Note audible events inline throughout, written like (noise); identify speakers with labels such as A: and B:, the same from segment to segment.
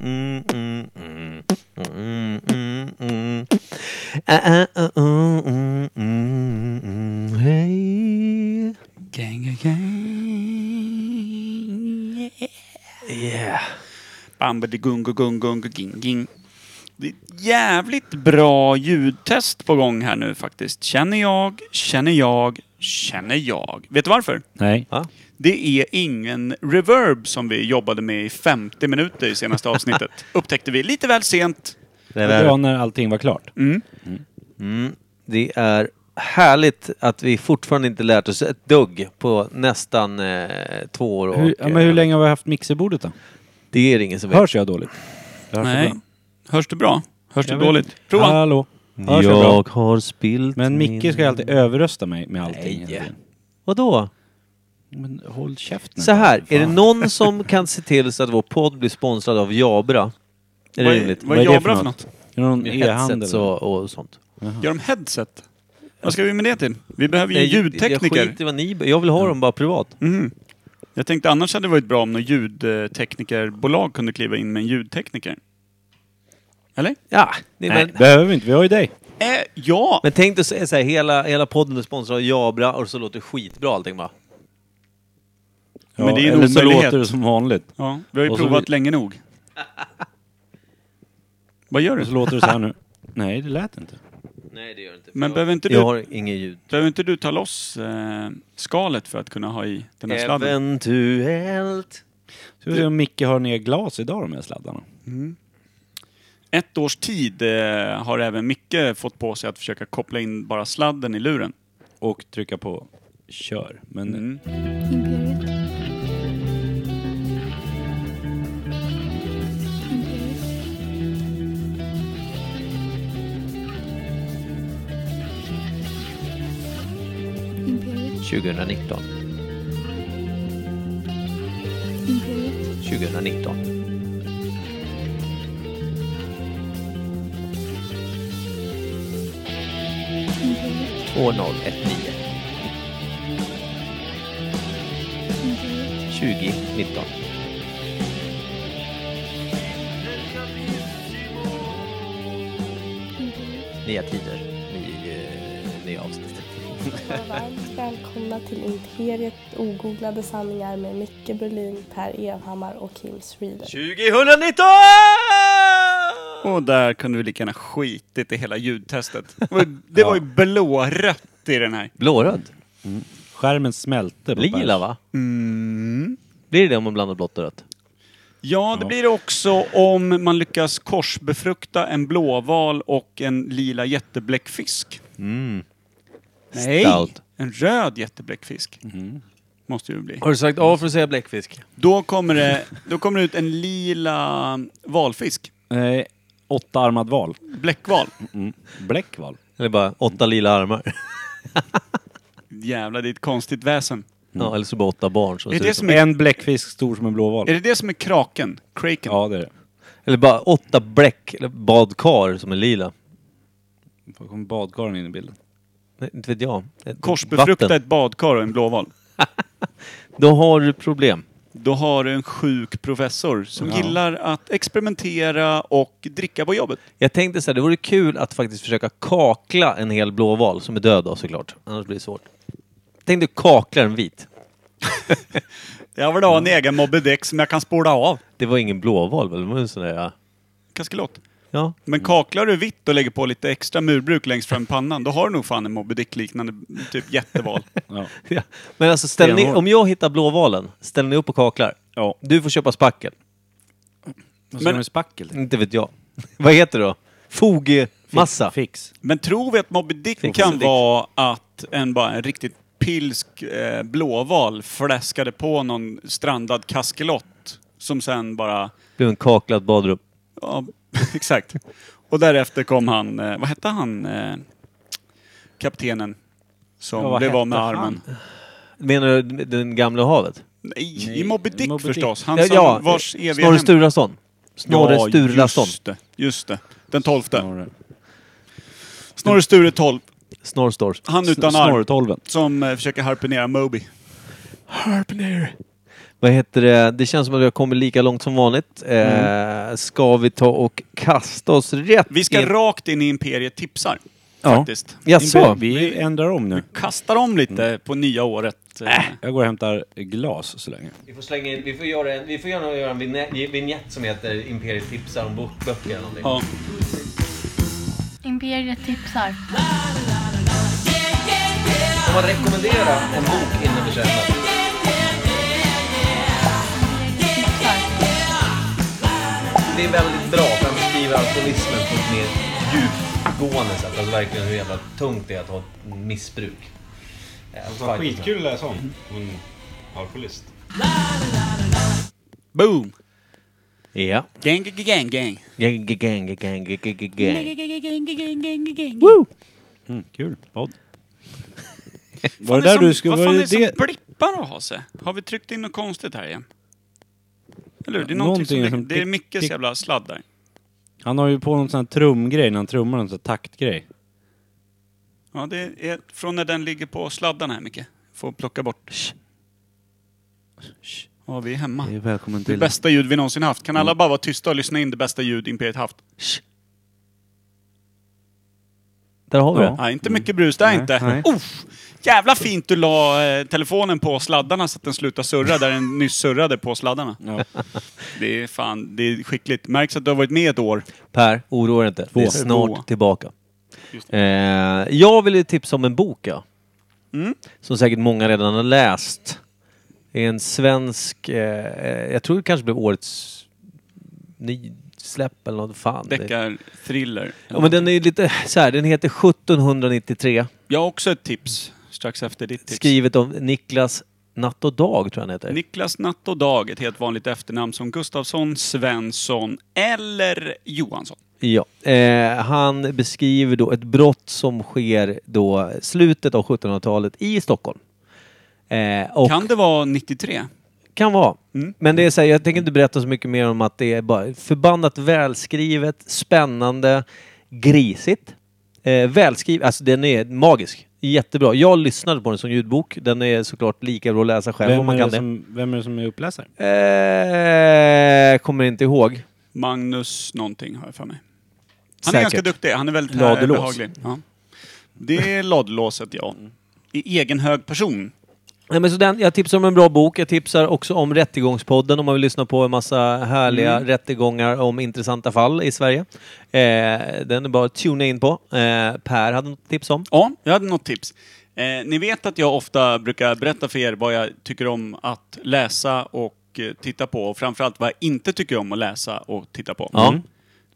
A: Mm, mm, mm. Mm, mm, mm. Ah, ah, ah, mm, mm, mm, mm. Hej!
B: Gang, gang, gang. Yeah.
A: Yeah.
B: Bambadigungo, gungo, gungo, ging, ging. Det är ett jävligt bra ljudtest på gång här nu faktiskt. Känner jag, känner jag, känner jag. Vet du varför?
C: Nej.
A: Va?
B: Det är ingen reverb som vi jobbade med i 50 minuter i senaste avsnittet.
C: (laughs)
B: Upptäckte vi lite väl sent.
A: Det
C: Det var
A: är,
C: när allting var klart.
A: mm, det är härligt att vi fortfarande inte lärt oss ett dugg på nästan eh, två år.
C: Hur,
A: och,
C: ja, men hur
A: eh,
C: länge har vi haft mixerbordet då?
A: Det är ingen som vet.
C: Hörs jag dåligt? Hörs
B: Nej. Hörs det bra? Hörs det
C: Jag vet
B: dåligt?
C: inte.
B: Prova.
C: Hallå? Hörs jag bra?
A: Jag har spilt
C: Men Micke ska ju alltid överrösta mig med allting.
A: Nej.
C: hela tiden.
A: Vadå?
C: Men håll käften.
A: Så här, är det
C: Fan.
A: någon som kan se till så att vår podd blir sponsrad av Jabra? Är det
B: vad,
A: rimligt?
B: vad är Jabra för något?
C: Är det någon e-handel?
A: Headsets och, och sånt.
B: Gör de headset? Vad ska vi med det till? Vi behöver ju
A: Nej, Jag
B: ljudtekniker.
A: skiter i vad ni... Jag vill ha dem bara privat.
B: Mm. Jag tänkte annars hade det varit bra om något ljudteknikerbolag kunde kliva in med en ljudtekniker. Eller?
A: Ja, det,
C: Nej,
A: men,
C: behöver vi inte. Vi har ju dig.
B: Äh, ja!
A: men tänk dig så så här, hela, hela podden är sponsrad av Jabra och så låter det skitbra allting bara.
C: Ja,
B: Men det är en
C: eller så
B: omöjlighet.
C: låter det som vanligt.
B: ja vi har ju
C: Och så
B: provat
C: vi-
B: länge nog. Vad gör
C: Och så
B: du?
C: låter det så här nu. Nej, det lät inte.
A: Nej, det gör det inte.
B: Men behöver inte du,
A: Jag har inget ljud.
B: behöver inte du ta loss eh, skalet för att kunna ha i den här sladden?
A: Eventuellt.
C: Ska vi se om Micke har ner glas idag de här sladdarna.
B: Ett års tid eh, har även Micke fått på sig att försöka koppla in bara sladden i luren.
C: Och trycka på kör. Men
B: Mm.
D: Imperiet. Imperiet. Imperiet.
A: 2019.
D: Imperiet.
A: 2019.
D: Imperiet.
A: 2019.
D: Imperiet.
A: 2019.
D: Imperiet.
A: Nya tider, ny, eh, nya avsnitt.
E: Och Varmt välkomna till Imperiet ogooglade sanningar med Micke Berlin, Per Evhammar och Kim Reader.
A: 2019!
B: Och där kunde vi lika gärna skitit i hela ljudtestet. Det var ju- Det var ju blårött i den här.
A: Blåröd.
C: skärmen smälte. på
A: Lila
C: pärs.
A: va?
B: Mm.
A: Blir det det om man blandar blått och rött?
B: Ja, det blir det också om man lyckas korsbefrukta en blåval och en lila jättebläckfisk. Nej,
A: Stout.
B: en röd jättebläckfisk. Måste det ju bli.
A: Har du sagt A för att säga bläckfisk?
B: Då kommer, det, då kommer det ut en lila valfisk.
C: Nej, åttaarmad val.
B: Bläckval.
C: Bläckval.
A: Eller bara åtta lila armar?
B: Jävlar, det är ett konstigt väsen.
A: (laughs) Ja, eller så bara åtta barn som
B: Är
A: ser
B: det
A: ut som...
B: som är,
C: En bläckfisk stor som en blåval.
B: är det det som är kraken? Kraken?
C: Ja, det är det.
A: Eller bara åtta bläck, eller badkar som är lila.
C: Då kommer badkaren in i bilden.
A: Nej, Inte vet jag. Ett
B: Korsbefrukta
A: vatten.
B: ett badkar och en blåval.
A: Då har du problem.
B: Då har du en sjuk professor som
C: Ja.
B: gillar att experimentera och dricka på jobbet.
A: Jag tänkte så här, det vore kul att faktiskt försöka kakla en hel blåval, som är död då såklart. Annars blir det svårt. Tänk dig kakla en vit.
B: Jag vill ha en egen Moby Dick som jag kan spola av.
A: Det var ingen blåval väl? Det var en sån där... ja.
B: Kaskelot.
A: Ja. (laughs)
B: Men kaklar du vitt och lägger på lite extra murbruk längst fram i pannan, då har du nog fan en Moby Dick-liknande typ jätteval.
C: Ja.
A: ja. Men alltså, ställ ni,
C: Stenhård.
A: om jag hittar blåvalen, ställ ni upp och kaklar.
C: ja.
A: Du får köpa spackel.
C: Vad
B: Men-
C: ska men... spackel till?
A: Inte vet jag. (laughs) Vad heter det då? Fogmassa.
C: Fix.
B: Men tror vi att Moby Dick
A: Fix.
B: kan
A: Moby Dick.
B: vara att en, bara en riktigt pilsk eh, blåval fläskade på någon strandad kaskelot som sen bara...
A: Blev en kaklad badrum.
B: Ja, (laughs) exakt. Och därefter kom han... Eh, vad hette han? Eh, kaptenen som
C: Ja, vad
B: blev av med
C: hette han?
B: armen.
A: Menar du den gamla havet?
B: Nej,
C: Nej,
B: i Moby Dick
C: Moby Dick. eh,
B: förstås. Han
A: Ja,
B: som
A: ja,
B: vars eviga
A: Snorre
B: hem-
A: Sturlason. Snorre Sturlason.
B: just det. Just det. Den tolfte.
C: Snorre.
B: Snorre Sture tolv.
A: Snorre Stors.
B: Han utan arm.
C: Snorretolven.
B: Som eh, försöker harpunera Moby.
A: Harpner. Vad heter det? Det känns som att vi har kommit lika långt som vanligt. Eh, ska vi ta och kasta oss rätt
B: Vi ska
A: in?
B: rakt in i Imperiet tipsar.
C: Ja.
B: Faktiskt.
A: Jaså?
C: Vi ändrar om nu.
B: Kastar om lite
C: Mm.
B: på nya året. Eh,
C: Jag går och hämtar glas så länge.
A: Vi får, slänga in, vi får, göra, en, vi får gärna göra en vignett, vignett som heter Imperiet tipsar om bok- böcker eller någonting.
B: Ja.
D: Imperiet tipsar.
A: Får man rekommendera en bok innan vi köper den?
D: Tipsar.
A: Det är väldigt bra för han beskriver alkoholismen på ett mer djupgående sätt. Alltså verkligen hur jävla tungt det är att ha ett missbruk. Eh,
F: Alltså,
A: fight-
F: skitkul att läsa om. En alkoholist.
B: Boom!
A: Ja.
B: Gang, gang, gang, gang.
A: Gang, gang, gang, gang, gang, gang, gang.
C: Woo! Mm, kul
B: (laughs)
C: podd. Var det där du skulle...
B: Vad
C: Var
B: fan är
C: det
B: det som
C: det?
B: blippar och har sig? Har vi tryckt in något konstigt här igen? Eller hur? Det är någonting, som,
C: Någonting som
B: Det är
C: tick,
B: mycket
C: tick.
B: jävla sladd där.
C: Han har ju på någon sån här trumgrej när han trummar, någon sån här taktgrej.
B: Ja, det är från när den ligger på sladdarna här, Micke. Får plocka bort. Shh. Ja, vi är hemma.
C: Välkommen
B: Det bästa ljud vi någonsin haft. Kan alla bara vara tysta och lyssna in det bästa ljud Imperiet haft?
A: Där har vi
C: Ja.
A: det.
B: Nej, inte mycket brus där
C: Nej,
B: inte.
C: nej.
B: Uff! Jävla fint du la eh, telefonen på sladdarna så att den slutade surra där den nyss surrade på sladdarna.
C: Ja.
B: (laughs) Det är fan, det är skickligt. Märks att du har varit med ett år.
A: Per, oroa dig inte. Vi är snart
B: Två.
A: tillbaka.
B: Just
A: Eh, jag vill ju tipsa om en bok, ja.
B: Mm.
A: Som säkert många redan har läst. Det är en svensk... Eh, jag tror det kanske blev årets nysläpp eller något fan. Det-
B: Deckarthriller.
A: Ja, men den är ju lite så här, den heter 1793.
B: Jag har också ett tips strax efter ditt tips.
A: Skrivet av Niklas Natt och Dag, tror jag han heter.
B: Niklas Natt och Dag, ett helt vanligt efternamn som Gustafsson, Svensson eller Johansson.
A: Ja. Eh, han beskriver då ett brott som sker då slutet av 1700-talet i Stockholm. Eh, och kan,
B: Kan det vara 93?
A: vara.
B: Mm.
A: Men det är så här, jag tänker inte berätta så mycket mer om att det är bara förbannat välskrivet, spännande, grisigt. Eh, välskrivet, alltså den är magisk. Jättebra. Jag lyssnade på den som ljudbok. Den är såklart lika bra att läsa själv om
C: Vem,
A: man
C: är
A: kan
C: det
A: det.
C: som, vem är det som är uppläsare?
A: Eh, kommer inte ihåg.
B: Magnus någonting har jag för mig. Han är
A: Säkert.
B: ganska duktig. Han är väldigt
A: Ladulås.
B: behaglig. Ja. Det är ladulåset, ja.
A: Mm.
B: I egen hög person.
A: Nej, men så den, jag tipsar om en bra bok. Jag tipsar också om Rättegångspodden om man vill lyssna på en massa härliga
B: Mm.
A: rättegångar om intressanta fall i Sverige. Eh, den är bara att tuna in på. Eh, per hade något tips om.
B: Ja, jag hade något tips. Eh, ni vet att jag ofta brukar berätta för er vad jag tycker om att läsa och eh, titta på och framförallt vad jag inte tycker om att läsa och titta på. Mm.
A: Ja.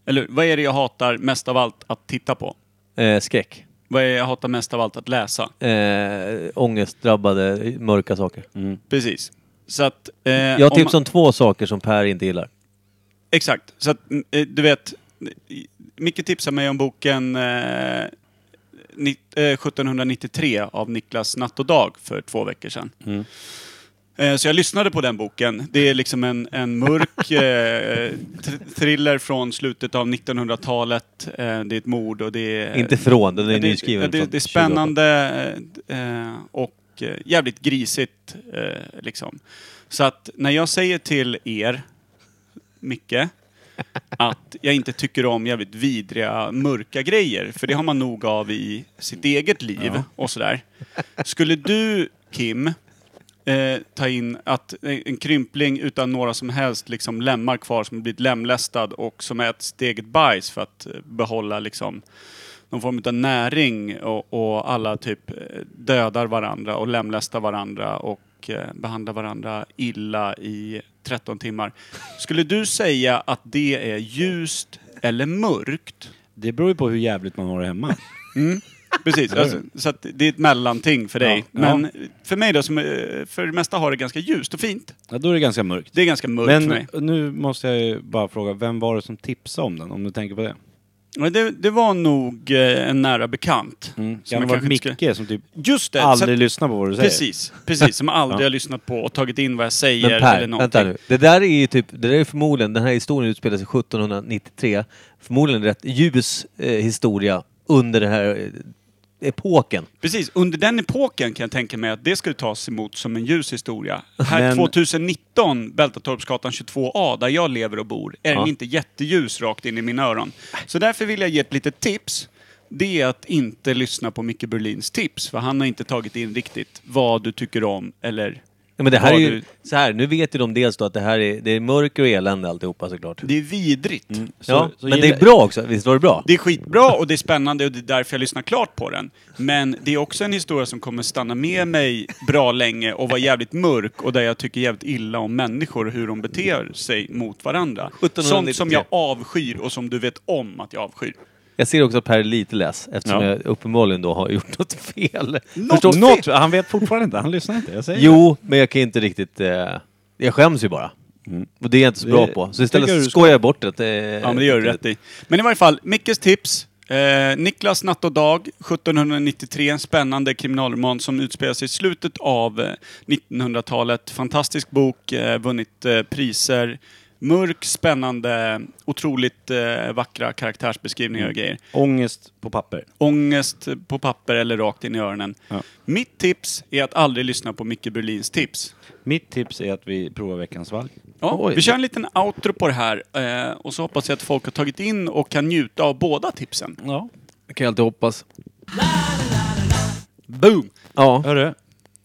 B: Eller vad är det jag hatar mest av allt att titta på?
A: Eh, skräck.
B: Vad är det jag hatar mest av allt att läsa?
A: Eh, ångestdrabbade, mörka saker.
B: Precis. Så att... Mm. eh,
A: Jag
B: om man-
A: tipsar om två saker som Per inte gillar.
B: Exakt. Så att, mm, eh, du vet, eh, Micke tipsade mig om boken eh, ni- eh, 1793 av Niklas Natt och Dag för två veckor sedan.
A: Mm.
B: Eh, Så jag lyssnade på den boken. Det är liksom en,
A: (laughs)
B: en mörk eh, tr- thriller från slutet av 1900-talet. Eh, det är ett mord och det är...
A: inte från, den är
B: Eh, Ja, det,
A: nyskriven.
B: ja, det,
A: från
B: det är
A: 28.
B: spännande eh, eh, och eh, jävligt grisigt. Eh, liksom. Så att när jag säger till er, Micke, att jag inte tycker om jävligt vidriga, mörka grejer, för det har man nog av i sitt eget liv och sådär. Skulle du, Kim, eh, ta in att eh, en krympling utan några som helst liksom, lämmar kvar som blivit lemlästad och som äter sitt eget bajs för att eh, behålla liksom, någon form av näring och, och alla typ eh, dödar varandra och lemlästar varandra och eh, behandlar varandra illa i 13 timmar. Skulle du säga att det är ljust eller mörkt?
C: Det beror ju på hur jävligt man har
B: (laughs)
C: det hemma.
B: Precis, alltså, så att det är ett mellanting för dig.
C: Ja, ja.
B: Men för mig då, som eh, för det mesta har det ganska ljust och fint.
C: Ja, då är det ganska mörkt.
B: Det är ganska mörkt för mig.
C: Men nu måste jag ju bara fråga, vem var det som tipsade om den? Om du tänker på
B: Mm,
C: det?
B: Men Det, det var nog eh, en nära bekant.
C: Mm.
B: Som
C: Kan det
B: jag
C: vara
B: kanske inte
C: Micke
B: ska-
C: som typ
B: Just det! så att-
C: aldrig lyssnar på vad du säger?
B: Precis, precis. Som aldrig
C: Ja.
B: har lyssnat på och tagit in vad jag säger
A: Men
B: eller
A: Per,
B: någonting.
A: vänta nu. Det där är ju typ, det där är förmodligen, den här historien utspelar sig 1793. Förmodligen en rätt ljus eh, historia under den här eh, epoken.
B: Precis, under den epoken kan jag tänka mig att det skulle tas emot som en ljus historia. Här
A: Men-
B: 2019, Bältatorpsgatan 22A, där jag lever och bor, är
A: Ja.
B: den inte jätteljus rakt in i mina öron. Så därför vill jag ge ett litet tips. Det är att inte lyssna på Micke Berlins tips, för han har inte tagit in riktigt vad du tycker om eller...
A: Ja, men det här
B: vad
A: är ju,
B: du-
A: så här, nu vet ju de dels då att det här är, det är mörker och elände alltihopa såklart.
B: Det är vidrigt.
A: ja,
C: så
A: men det
C: gillar-
A: är bra också, visst var det bra?
B: Det är skitbra och det är spännande och det är därför jag lyssnar klart på den. Men det är också en historia som kommer stanna med mig bra länge och vara jävligt mörk och där jag tycker jävligt illa om människor och hur de beter sig mot varandra.
A: 1793.
B: Sånt som jag avskyr och som du vet om att jag avskyr.
A: Jag ser också att Per är lite less eftersom
C: Ja.
A: jag uppenbarligen då har (laughs) gjort något fel. Förstår-
C: Något, något, han vet fortfarande inte, han lyssnar inte. Jag säger
A: Jo, men jag kan inte riktigt... Eh, jag skäms ju bara. Och det är jag inte så
C: Det-
A: bra på. Så
C: tycker jag
A: istället
C: du
A: skojar jag bort det. eh,
B: Ja, men det gör du rätt i. Men i varje fall, Mickes tips. Eh, Niklas Natt och Dag, 1793, en spännande kriminalroman som utspelar sig i slutet av eh, 1900-talet. Fantastisk bok, eh, vunnit eh, priser. Mörk, spännande, otroligt eh, vackra karaktärsbeskrivningar och grejer.
C: Ångest på papper.
B: Ångest på papper eller rakt in i öronen.
C: Ja.
B: Mitt tips är att aldrig lyssna på Micke Berlins tips.
C: Mitt tips är att vi provar veckans valg.
B: Ja,
A: Oj.
B: vi kör en liten outro på det här eh, och så hoppas jag att folk har tagit in och kan njuta av båda tipsen.
C: Ja.
A: Jag kan ju alltid hoppas.
B: Boom!
A: Ja.
C: Hörru,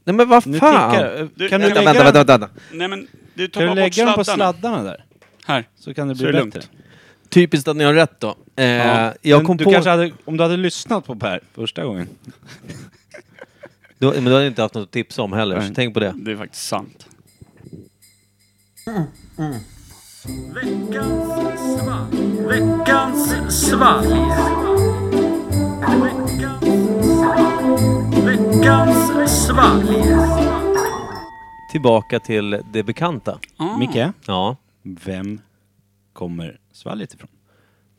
A: Nej men vad
C: nu
A: fan!
C: tickar
B: Du,
C: Kan du
A: Vänta,
C: lägga,
A: vänta,
C: den-
A: vänta, vänta, vänta.
B: Nej men, du tar
C: Kan du
B: bara bort
C: lägga den
B: sladdarna.
C: på sladdarna där?
B: Här.
C: Så kan det
B: Så
C: bli
B: är det
C: bättre.
A: Typiskt att ni har rätt då. Eh,
C: Ja.
A: Jag
C: Men
A: kom
C: du
A: på...
C: kanske hade, om du hade lyssnat på Per första gången.
A: Du, men du har inte haft något att tipsa om heller, så
C: Nej.
A: tänk på det.
B: Det är faktiskt sant.
A: Tillbaka till det bekanta.
B: Ah.
C: Micke,
A: Ja.
C: vem kommer svalget ifrån?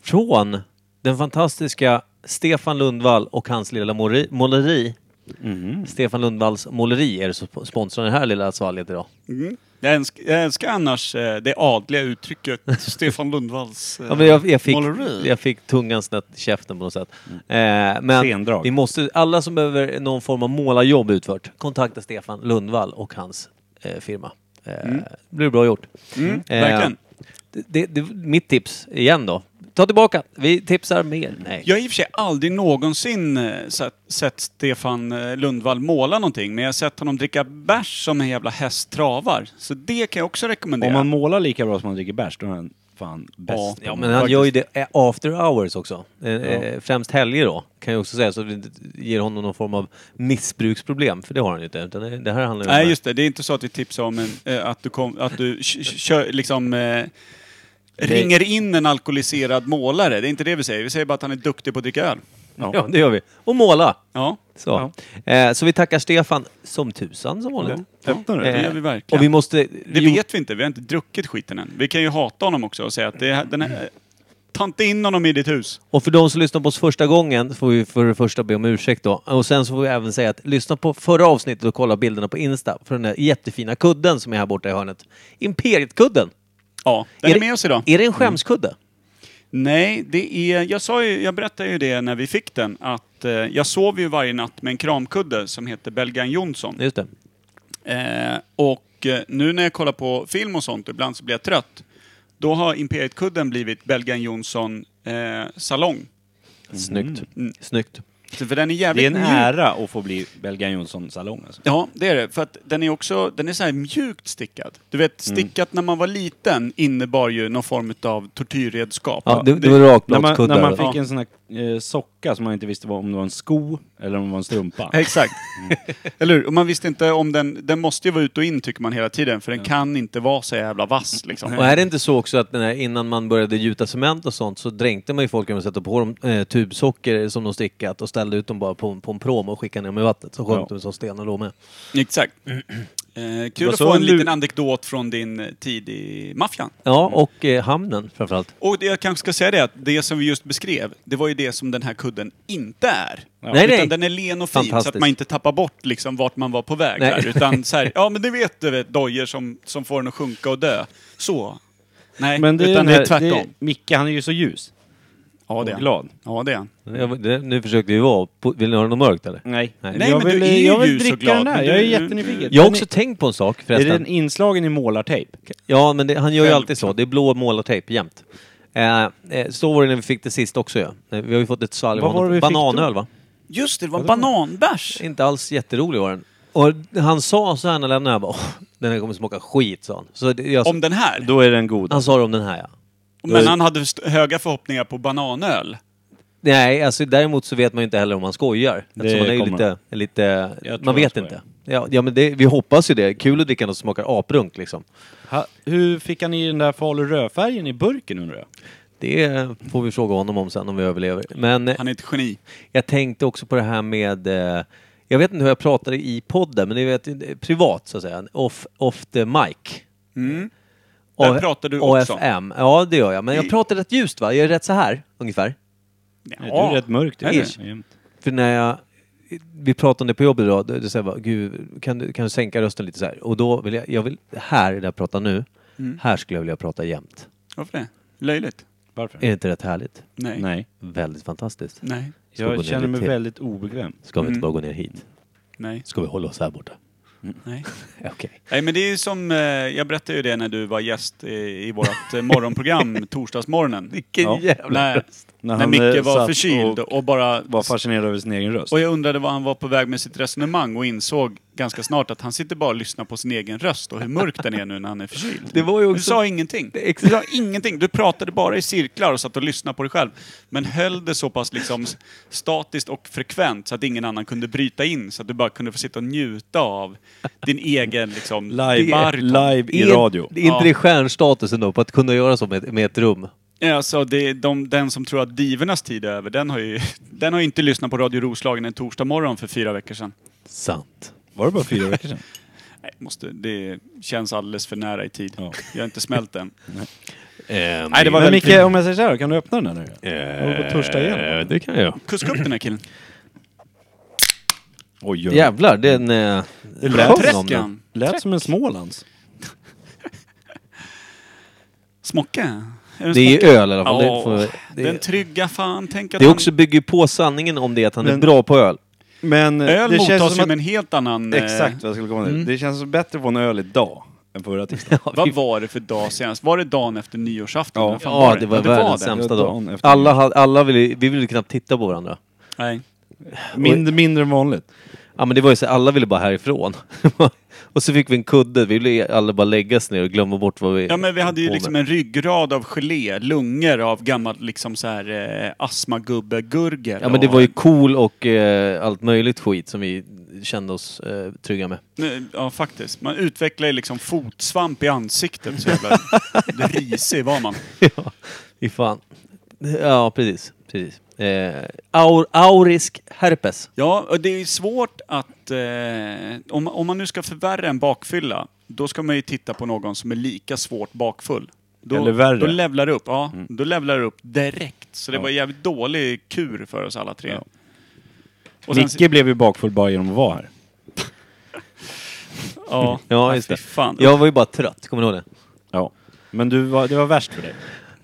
A: Från den fantastiska Stefan Lundvall och hans lilla måleri. måleri.
C: Mhm.
A: Stefan Lundvalls måleri är det som sponsrar det här lilla svalget idag.
B: Mm. Jag, älskar, jag älskar annars eh, det adliga uttrycket
C: (laughs)
B: Stefan Lundvalls eh,
A: Ja, men jag, jag, fick,
B: måleri.
A: jag fick tungan snett i käften på något sätt. Eh, men
C: Sendrag.
A: vi måste, alla som behöver någon form av målarjobb utfört, kontakta Stefan Lundvall och hans eh, firma. Eh, Det blir bra gjort. Eh,
B: Mm. Verkligen.
A: Det, det, det, mitt tips igen då. Ta tillbaka, vi tipsar mer. Nej.
B: Jag har i och för sig aldrig någonsin eh, sett, sett Stefan eh, Lundvall måla någonting, men jag har sett honom dricka bärs som en jävla häst travar. Så det kan jag också rekommendera.
C: Om man målar lika bra som man dricker bärs, då är han fan bäst.
A: Ja, men han gör ju det eh, after hours också. Eh, eh, Främst helger då, kan jag också säga, så att vi inte ger honom någon form av missbruksproblem, för det har han ju inte. Utan det- det här handlar ju om-
B: Nej, just det. Det är inte så att vi tipsar om en, eh, att du, kom, att du k- k- kör, liksom, eh, ringer in en alkoholiserad målare. Det är inte det vi säger. Vi säger bara att han är duktig på att dricka öl.
A: Ja, det gör vi. Och måla!
B: Ja,
A: Så. Eh, så vi tackar Stefan som tusan som vanligt.
C: Öppnar du?
B: det gör
A: Eh,
B: vi verkligen.
A: Och vi måste...
B: Det vet vi inte. Vi har inte druckit skiten än. Vi kan ju hata honom också och säga att det, här- den här, ta inte in honom i ditt hus.
A: Och för de som lyssnar på oss första gången får vi för det första be om ursäkt då. Och sen så får vi även säga att lyssna på förra avsnittet och kolla bilderna på Insta för den här jättefina kudden som är här borta i hörnet. Imperiet-kudden!
B: Ja, den är,
A: det-
B: med oss idag. Mm.
A: Är det en skämskudde?
B: Nej, det är... Jag, sa ju, jag berättade ju det när vi fick den, att eh, jag sov ju varje natt med en kramkudde som heter Belgan Jonsson.
A: Just det.
B: Mm. Eh, och eh, nu när jag kollar på film och sånt, ibland så blir jag trött. Då har Imperiet-kudden blivit Belgan Jonsson eh, salong.
A: Snyggt.
B: Mm.
A: Snyggt.
B: Så För den är
C: Det är
B: jävligt
C: en
B: mjuk.
C: ära att få bli Belgian Jonsson salong alltså.
B: Ja, det är det. För att den är också, den är så här mjukt stickad. Du vet, stickat när man var liten innebar ju någon form av tortyrredskap.
A: Ja, det, det var
C: När man,
A: rakbladskuddar.
C: när man
A: då.
C: fick en sån här eh, socka som man inte visste vad- om det var en sko eller om det var en strumpa.
B: Exakt. Eller hur? Och man visste inte om den, den måste ju vara ut och in tycker man hela tiden, för den kan inte vara så jävla vass liksom.
A: Och är det inte så också att den här, innan man började gjuta cement och sånt så dränkte man ju folk genom att sätta på dem eh, tubsocker som de stickat och ställde ut dem bara på, en- på en pråm och skickade ner dem i vattnet. Så sjönk
C: Ja.
A: de som stenar då med.
B: Exakt. Eh, kul
C: var
B: att
C: så
B: få en
C: lu-
B: liten anekdot från din eh, tid i maffian.
A: Ja, och eh, hamnen framförallt.
B: Och det jag kanske ska säga det är att det som vi just beskrev, det var ju det som den här kudden inte är.
A: Nej,
B: utan
A: nej.
B: den är len och fin så att
A: Fantastiskt.
B: man inte tappar bort liksom vart man var på väg
A: Nej.
B: där. Utan så här, ja men det vet du vet, dojer som, som får den att sjunka och dö. Så. Nej,
C: Men det är,
B: utan
C: den
B: det
C: här,
B: är tvärtom.
C: Micke han är ju så ljus.
B: Ja, det är
C: och
B: han.
C: glad.
B: Ja, det är han.
A: Jag- det- Nu försökte vi vara... på- Vill ni höra något mörkt eller?
C: Nej.
A: Nej,
C: jag
B: men du
C: vill,
B: är ju
C: jag vill
B: ljus och
C: dricka
B: glad,
C: den där.
B: men
C: Jag är
B: du-
C: jättenyfiken.
A: Jag har
C: Den
A: också
C: är-
A: tänkt på en sak
C: Är
A: förresten.
C: den inslagen i målartejp?
A: Ja, men det, han gör ju
B: Självklart.
A: alltid så. Det är blå målartejp jämt. Eh, eh, så var det när vi fick det sist också ja. Eh, Vi har ju fått ett svalg av
C: Vad var
A: honom.
C: det vi fick
A: Bananöl
C: då?
A: va?
B: Just det, det var en bananbärs!
A: Inte alls jätterolig var den. Och han sa så här när jag lämnade, jag bara, "Åh, den här kommer smaka skit sa han. Så det, jag,
B: Om den här.
C: Då är den god.
A: han sa det om den här ja.
B: Men han hade st- höga förhoppningar på bananöl.
A: Nej, alltså däremot så vet man ju inte heller om han skojar. Eftersom man är ju
C: kommer.
A: lite, lite
C: Jag tror
A: man
C: han
A: vet
C: skojar.
A: inte. Ja, ja men det, vi hoppas ju det. Kul att dricka något som smakar aprunk liksom.
C: Ha, hur fick han i den där falu rödfärgen i burken undrar jag?
A: Det eh, får vi fråga honom om sen om vi överlever. Men eh,
B: Han är ett geni.
A: Jag tänkte också på det här med eh, jag vet inte hur jag pratade i podden, men ni vet, eh, privat så att säga. Off, off the mic.
B: Mm. Där
A: A-
B: pratar du också.
A: AFM. Ja, det gör jag. Men jag pratar rätt ljust va? Jag är rätt så här, ungefär.
B: Ja.
C: Du är rätt mörk. du.
B: Är det?
C: Jämt.
A: För när jag... Vi pratade om det på jobbet idag, då, då sa jag bara, gud, kan du, kan du sänka rösten lite så här? Och då vill jag, jag vill, här där jag pratar nu, här skulle jag vilja prata jämt.
B: Mm. Varför det? Löjligt?
C: Varför?
A: Är det inte rätt härligt?
B: Nej. Nej.
C: Nej.
A: Väldigt fantastiskt.
B: Nej.
A: Ska vi gå
C: Jag
A: ner
C: känner mig
A: lite?
C: väldigt obekväm.
A: Ska vi
B: Mm.
A: inte bara gå ner hit?
B: Nej.
A: Ska vi hålla oss här borta? (laughs)
B: Nej.
A: Okej.
B: men det är ju som, eh, jag berättade ju det när du var gäst i, i vårt
A: (laughs)
B: eh, morgonprogram torsdagsmorgonen.
A: Vilken
C: Ja.
A: jävla...
B: När,
C: När
B: när,
C: han, eh,
B: Micke
C: satt
B: var förkyld
C: och
B: och, bara...
C: Var fascinerad över sin egen röst.
B: Och jag undrade vad han var på väg med sitt resonemang och insåg ganska snart att han sitter bara och lyssnar på sin egen röst och hur mörk den är nu när han är förkyld.
A: Det var ju
B: Du
A: också-
B: sa ingenting. Du sa ingenting. Du pratade bara i cirklar och satt och lyssnade på dig själv. Men höll det så pass liksom statiskt och frekvent så att ingen annan kunde bryta in. Så att du bara kunde få sitta och njuta av din egen
A: (laughs)
B: liksom...
C: Live,
B: bariton.
C: live i
A: Är-
C: radio.
A: Är inte
B: Ja.
A: det stjärnstatusen då, på att kunna göra så med, med ett rum?
B: Ja, Alltså, det, de, den som tror att divernas tid är över, den har ju, den har ju inte lyssnat på Radio Roslagen en torsdag morgon för fyra veckor sedan.
A: Sant.
C: Var det bara fyra veckor sedan?
B: Nej, måste, det känns alldeles för nära i tid.
C: Ja.
B: Jag har inte smält den.
A: (laughs) Nej,
B: det var Eh,
C: Men
B: väldigt
C: Micke,
B: fint.
C: om jag säger så här, kan du öppna den här nu? Jag håller på att törsta igen.
A: det kan jag.
B: Kuska upp den här killen.
C: Oj, oj, oj.
A: Jävlar, den... Eh,
C: Det
A: Sjöng
C: lät,
A: om den.
B: Träskan.
C: lät som en Smålands.
B: Smocka. Är
A: Det är ju
B: smocka?
A: öl i alla fall. Det,
B: Ja,
A: får, det,
B: Den trygga fan. Tänk att
A: det
B: han-
A: också bygger ju på sanningen om det, att han
C: Men-
A: är bra på öl.
C: Men eh,
B: öl
C: det känns
B: mottas
C: som
B: ju
C: att...
B: med en helt annan... eh,
C: Exakt vad jag skulle komma till. Det känns bättre att få en öl idag än förra
B: (laughs)
C: tisdagen.
B: Vad var det för dag senast? Var det dagen efter nyårsafton?
C: Ja.
B: Vad fan
A: Ja, det var världens
B: det.
A: sämsta
C: Det var dagen
A: dag.
C: efter
A: Alla, hade- alla ville, vi ville knappt titta på varandra.
B: Nej.
C: (laughs) Mindre, mindre än vanligt.
A: Ja men det var ju så, alla ville bara härifrån. (laughs) och så fick vi en kudde, vi ville alla bara lägga oss ner och glömma bort vad vi...
B: Ja men vi hade ju
A: på
B: liksom
A: med.
B: en ryggrad av gelé, lungor av gammal liksom så här eh, astmagubbe-gurgel.
A: Ja men det var ju cool och eh, allt möjligt skit som vi kände oss eh, trygga med.
B: Nej, Ja, faktiskt. Man utvecklar ju liksom fotsvamp i ansiktet. Så jävla risig var man.
A: (laughs) ja, fy fan. Ja, precis. precis. Eh, aur, aurisk herpes.
B: Ja, och det är svårt att... Eh, om, om man nu ska förvärra en bakfylla, då ska man ju titta på någon som är lika svårt bakfull. Då,
C: Eller värre.
B: Då levlar det upp, ja.
A: Mm.
B: Då levlar det upp direkt. Så det var en jävligt dålig kur för oss alla tre.
C: Ja.
B: Och sen-
C: Micke blev ju bakfull bara genom att vara här.
B: Ja,
A: (laughs) Ja, just
B: fy
A: det.
B: Fan.
A: Jag var ju bara trött, kommer du ihåg det?
C: Ja. Men du var, det var värst för dig.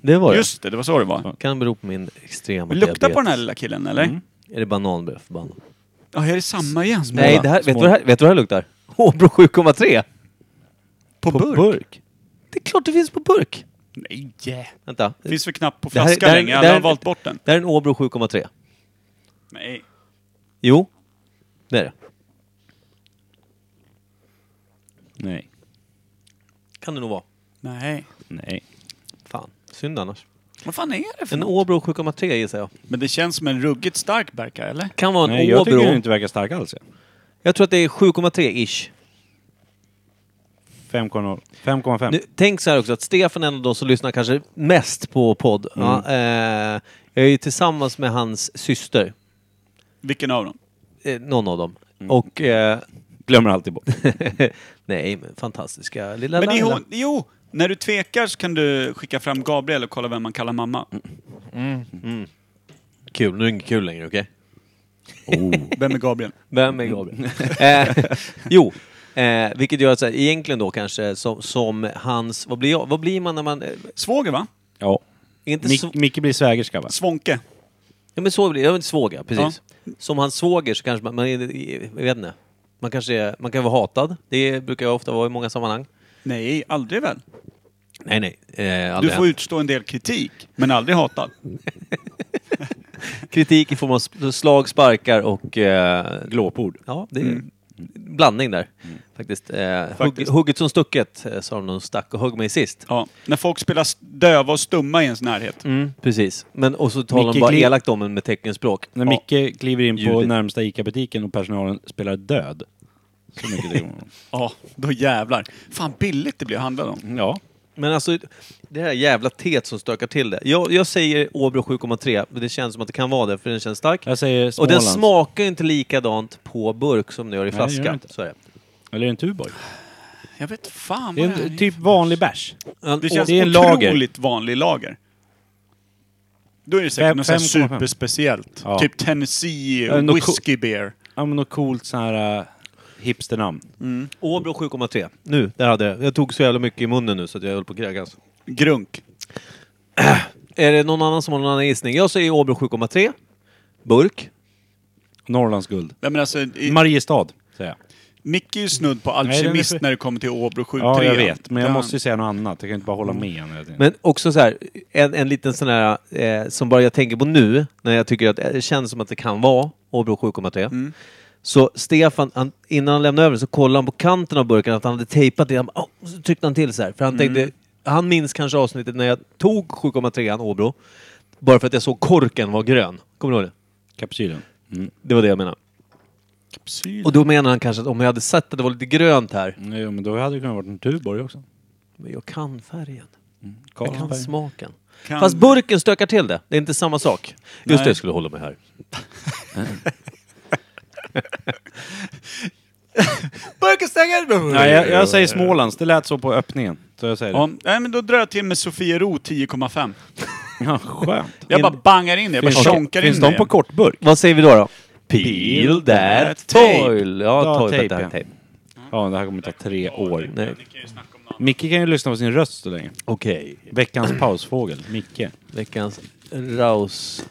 A: Det var
B: Just det, det var så det var.
A: det. Kan bero på min extrema
B: Vi luktar
A: diabetes. Mm.
B: på den här lilla killen, eller?
A: Är det banan blev jag förbannad?
B: Ja, är det samma igen?
A: Nej, det här, vet du vad det här, vet du vad det här luktar? Hårbro 7,3!
B: På,
C: På
B: burk?
C: burk.
A: Det är klart det finns på burk!
B: Nej!
A: Vänta.
B: Finns för knappt på
A: Det här-
B: flaska
A: det här-
B: längre.
A: det
B: Alla
A: här-
B: har valt bort den.
A: Det här är en Åbro 7,3.
B: Nej.
A: Jo, det är det.
C: Nej.
A: Kan det nog vara.
B: Nej.
C: Nej.
A: Fan, synd annars.
B: Vad fan är det för
A: En
B: något?
A: Åbro 7,3 gissar jag.
B: Men det känns som en ruggigt stark Berka, eller?
A: Kan vara en
C: Nej,
A: Åbro.
C: jag tycker den inte verkar stark alls. ja.
A: jag tror att det är 7,3-ish.
C: 5,0. 5,5.
A: Nu, tänk så här också att Stefan är en av de som lyssnar kanske mest på podd.
B: Mm.
A: Ja, eh, jag är ju tillsammans med hans syster,
B: Vilken av dem?
A: eh, någon av dem.
B: Mm.
A: Och... Eh, (laughs)
C: Glömmer
B: (laughs)
C: alltid bort.
A: nej, men fantastiska lilla
B: Men det är
A: Laila.
B: hon, jo! När du tvekar så kan du skicka fram Gabriel och kolla vem man kallar mamma.
A: Kul, nu är det inget kul längre, okej?
B: Vem är Gabriel?
A: Vem är Gabriel? eh, (laughs) jo, eh, vilket gör att så här, egentligen då kanske som, som hans... Vad blir, jag, vad blir man när man... eh,
B: Svåger, va?
C: Ja.
A: Inte
C: Mic-
A: sv-
C: Micke blir svägerska va?
B: Svånke.
A: ja, men så blir det. Ja, men svåger, precis. Som hans svåger så kanske man, man är- jag vet inte. Man kanske är, man kan vara hatad. Det brukar jag ofta vara i många sammanhang.
B: Nej, aldrig väl?
A: Nej, nej. Eh,
B: Du
A: aldrig
B: får
A: hänt.
B: utstå en del kritik, men aldrig hatad.
A: Kritik i form av sp- slag, sparkar och... Eh,
C: Glåpord.
A: ja, det är blandning där. Faktiskt. Eh,
B: Faktiskt.
A: Hugg, hugget som stucket, eh, sa de när de stack och högg mig sist.
B: Ja. När folk spelar s- döva och stumma i ens närhet.
A: Mm, precis. Men, och så talar de
C: Micke
A: bara
C: Gli-
A: elakt om en med teckenspråk.
C: När Micke kliver in på
A: Ljudet.
C: närmsta ICA-butiken och personalen spelar död. Så mycket tycker man om.
B: Ja, då jävlar. Fan billigt det blir att handla om.
C: Ja.
A: Men alltså, det här jävla teet som stökar till det. Jag, jag säger Åbro 7,3, men det känns som att det kan vara det, för den känns stark.
C: Jag säger
A: Och den
C: Smålands.
A: smakar ju inte likadant på burk som den gör i
C: Nej, det gör
A: flaska.
C: den inte.
A: så är det.
C: Eller är det en Tuborg?
B: Jag vet fan
C: Det
B: vad
C: är
B: det är.
C: en, typ vanlig bärs.
A: Men-
B: Det känns
C: det är en
B: otroligt vanlig lager. Då är det säkert
C: Fem-
B: något så här
C: 5,5.
B: superspeciellt.
C: Ja.
B: Typ Tennessee
C: Ja, något co-
B: Whiskey Beer.
C: Ja men något coolt sån här äh, hipsternamn.
A: Åbro 7,3. Nu, där hade jag. Jag tog så jävla mycket i munnen nu så att jag höll på att kräkas.
B: Grunk.
A: Är det någon annan som har någon annan gissning? Jag säger Åbro 7,3. Burk.
C: Norrlands guld.
B: Nej, men alltså, i,
C: Mariestad, säger jag.
B: Micke är ju snudd på
C: den är
B: alkemist
C: för-
B: när det kommer till Åbro 7
C: Ja, jag vet. Men jag måste ju säga något annat. Jag kan inte bara hålla med henne.
A: Men också så här, en, en liten sån här eh, som bara jag tänker på nu, när jag tycker att eh, det känns som att det kan vara Åbro 7,3. Så Stefan, han, innan han lämnade över så kollade han på kanten av burken att han hade tejpat det. Han, bara, "Åh", så tryckte han till så här. För han tänkte, han minns kanske avsnittet när jag tog 7,3an Åbro. Bara för att jag såg korken var grön. Kommer du ihåg det?
C: Kapsylen.
A: Det var det jag menade. Och då menar han kanske att om jag hade sett att det var lite grönt här.
C: Nej, men då hade det kunnat vara en Tuborg också.
A: Men jag kan färgen. Jag kan
C: Karlsberg.
A: smaken.
B: Kan-
A: Fast burken stökar till det. Det är inte samma sak. Just
B: Nej.
A: det, jag skulle hålla mig
C: (laughs)
A: här.
B: Burkenstänger!
C: Nej, jag, jag säger Smålands. Det lät så på öppningen. Så jag säger
B: Ja,
C: det.
B: nej, men då drar jag till med Sofiero 10,5.
C: Ja, skönt.
B: Jag bara bangar in det. Jag bara
C: Okej,
B: tjonkar in
C: Finns
B: det.
C: de på kortburk?
A: Vad säger vi då? då?
C: Peel
B: that tape.
A: Ja,
C: Ja,
A: toil.
C: tape,
A: that
C: ja.
A: tape.
C: Ja, det här kommer ta tre år.
A: Nej.
C: Micke kan ju lyssna på sin röst så länge.
A: Okej. (clears throat)
C: Veckans pausfågel, Micke.
A: Veckans raus.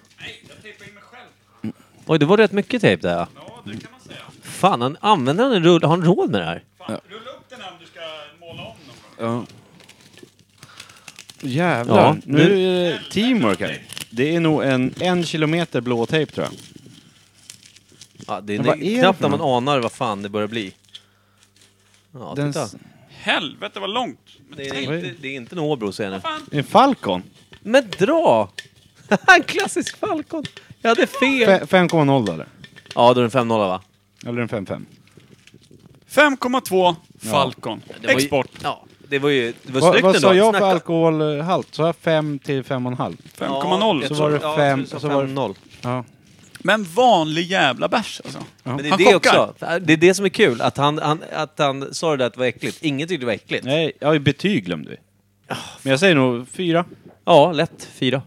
A: Oj, det var rätt mycket tejp där. Ja, det kan man säga. Fan, han använder han en rull... Har han råd med det här?
B: Rulla upp den här om du ska måla om någon gång.
C: Jävlar.
A: Ja,
C: nu är det teamwork här. Det är nog en, en kilometer blå tejp tror jag.
A: Ja, det är,
C: Men vad är det
A: knappt
C: för
A: att man anar vad fan det börjar bli. Ja,
C: Den
A: titta.
C: s-
B: Helvete vad långt! Men
A: Det
B: tänk-
A: är inte, det är inte en Åbro, säger jag nu.
C: En Falcon.
A: Men dra! en (laughs) klassisk Falcon! Jag hade fel!
C: Fe- 5,0 eller?
A: Ja, då är det en 5-0 va?
C: Eller en 5,5.
B: 5,2 Falcon.
A: Det var ju-
B: Export.
A: Ja, det var ju... Det var
C: Va,
A: snyggt
C: vad
A: ändå.
C: sa jag för
A: Snacka-
C: alkoholhalt? Sa jag 5 till 5,5?
B: 5,0.
A: jag
C: Så
A: tror-
C: var det
A: ja, jag
C: fem-
A: tror du sa
C: så var det-
A: 5-0.
C: Ja.
B: Men vanlig jävla bärs alltså.
A: Men det är
B: Han
A: det
B: chockar.
A: också. Det är det som är kul. Att han, han, att han sa det där att det var äckligt. Ingen tyckte det var äckligt.
C: Nej, ja, betyg glömde vi. Men jag säger nog 4.
A: Ja, lätt. Fyra.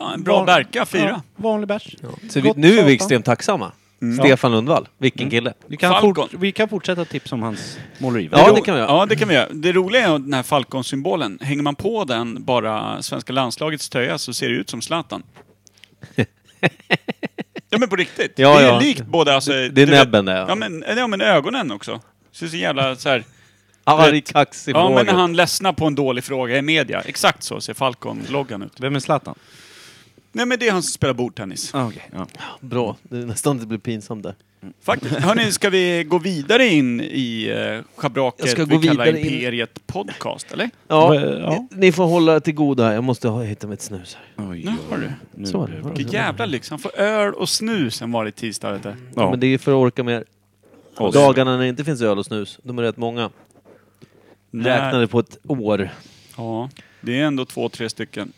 B: Ja, en bra Berka, 4.
C: vanlig bärs.
A: Så vi,
C: Gott
A: nu är vi
C: satan.
A: extremt tacksamma.
C: Mm.
A: Stefan Lundvall. Vilken kille.
C: Vi kan,
B: Falcon.
C: fort, vi kan fortsätta tipsa om hans måleri. va?
A: Ja, det kan vi göra.
B: Ja, det kan vi göra. Det roliga är den här Falcon-symbolen. Hänger man på den, bara svenska landslagets tröja, så ser det ut
A: (laughs)
B: som Zlatan. Ja men på riktigt.
A: Ja,
B: det är
A: ja.
B: likt både alltså...
A: det är
B: du vet-
A: näbben där, ja.
B: Ja. men, ja men ögonen också. Ser så jävla så här.
A: Arg kaxig
B: Ja men
A: fråga.
B: när han ledsnar på en dålig fråga i media. Exakt så ser Falcon-loggan ut.
C: Vem är Zlatan?
B: Nej men det är han som spelar bordtennis.
C: Ah, okej, ja.
A: Bra. Det är nästan det blir pinsamt där.
B: Faktiskt. Hörni, ska vi gå vidare in i eh, schabraket
A: Jag ska
B: vi
A: gå
B: kallar
A: vidare in-
B: Imperiet Podcast, eller?
A: Ja,
C: Va- ja.
A: Ni får hålla till goda här. Jag måste ha, hitta mitt snus här.
C: Oj,
B: Nu har du.
C: nu.
A: Så var det. var det.
B: Vilken jävla lyx. Han får liksom. öl och snus en vanlig tisdag. Vet du.
C: Ja.
A: Men det är för att orka med
C: Oss.
A: dagarna när det inte finns öl och snus. De är rätt många. Räknade på ett år.
B: Ja, det är ändå två, tre stycken.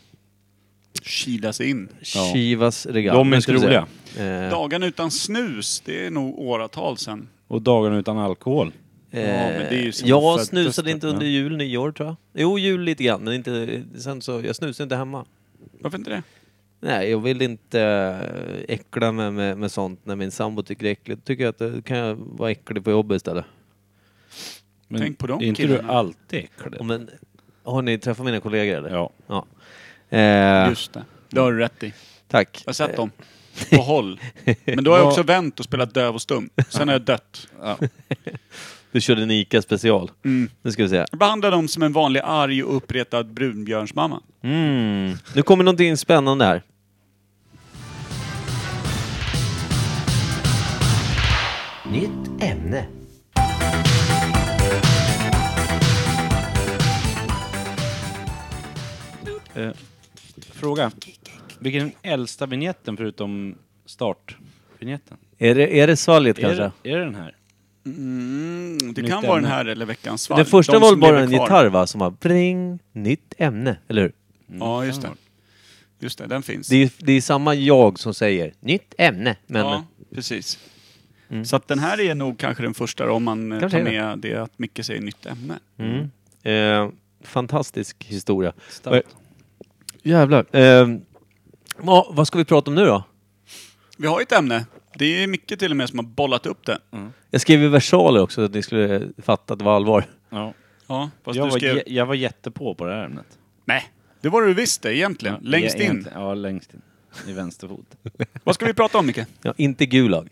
B: Kila sig in.
C: Ja.
A: Chivas regal.
C: De är
A: skulle jag
C: roliga.
A: säga. Eh,
B: Dagen utan snus, det är nog åratal sen.
C: Och dagarna utan alkohol.
B: men det är ju sen
A: eh, jag
C: föddes
A: snusade
C: det,
A: inte under
C: ja.
A: jul, nyår tror jag. Jo, jul lite grann, men inte, sen så, jag snusade inte hemma.
B: Varför inte det?
A: Nej, jag vill inte eh, äckla mig med, med sånt när min sambo tycker det är äckligt. Tycker jag att eh, kan jag vara äcklig på jobbet istället.
C: Men
B: Tänk på de
C: Är inte
B: killarna.
C: du alltid äcklig?
A: Och Men, har ni träffat mina kollegor eller?
C: Ja.
A: Ja. Eh,
B: Just det. Det har du rätt i.
A: Tack.
B: Jag har sett dem.
A: Eh.
B: På håll. Men då har jag också vänt och spelat döv och stum. Sen har jag dött. Mm.
C: Ja.
A: Du körde en ICA special. Nu ska vi se.
B: Jag behandlar dem som en vanlig arg och uppretad brunbjörnsmamma.
A: Mm. Nu kommer någonting spännande här.
G: Nytt ämne.
C: Eh, Fråga. Vilken är den äldsta vignetten förutom startvinjetten?
A: Är det, är det svalget
C: Är,
A: kanske?
C: det- är det den här?
B: Mm, det
C: Nytt
B: kan vara den
C: ämne.
B: här eller Veckans svalg.
A: Den första
B: De
A: var
B: som
A: bara
B: lever
A: en
B: kvar.
A: gitarr va? Som var pling, nytt ämne. Eller hur?
B: Ja, just det. Just det, den finns.
A: Det är, det är samma jag som säger nytt ämne. Men
B: ja, precis. Så att den här är nog kanske den första då, om man eh,
A: Kanske
B: tar
A: är det. Mm.
B: med det att Micke säger nytt ämne.
A: eh, fantastisk historia.
C: Starkt.
A: Jävlar. Eh, ja, vad ska vi prata om nu då?
B: Vi har ju ett ämne. Det är Micke till och med som har bollat upp det.
A: Jag skrev ju versaler också så att ni skulle fatta att det var allvar.
C: Ja.
B: Ja, fast
C: Jag,
B: du
C: var,
B: skrev...
C: jä- jag var jättepå på det här ämnet.
B: Nej, det var det du visste egentligen.
C: Ja,
B: Längst
C: ja,
B: in.
C: egentligen. Ja, längst in. I vänster fot.
B: Vad ska vi prata om Micke?
A: Ja, inte Gulag,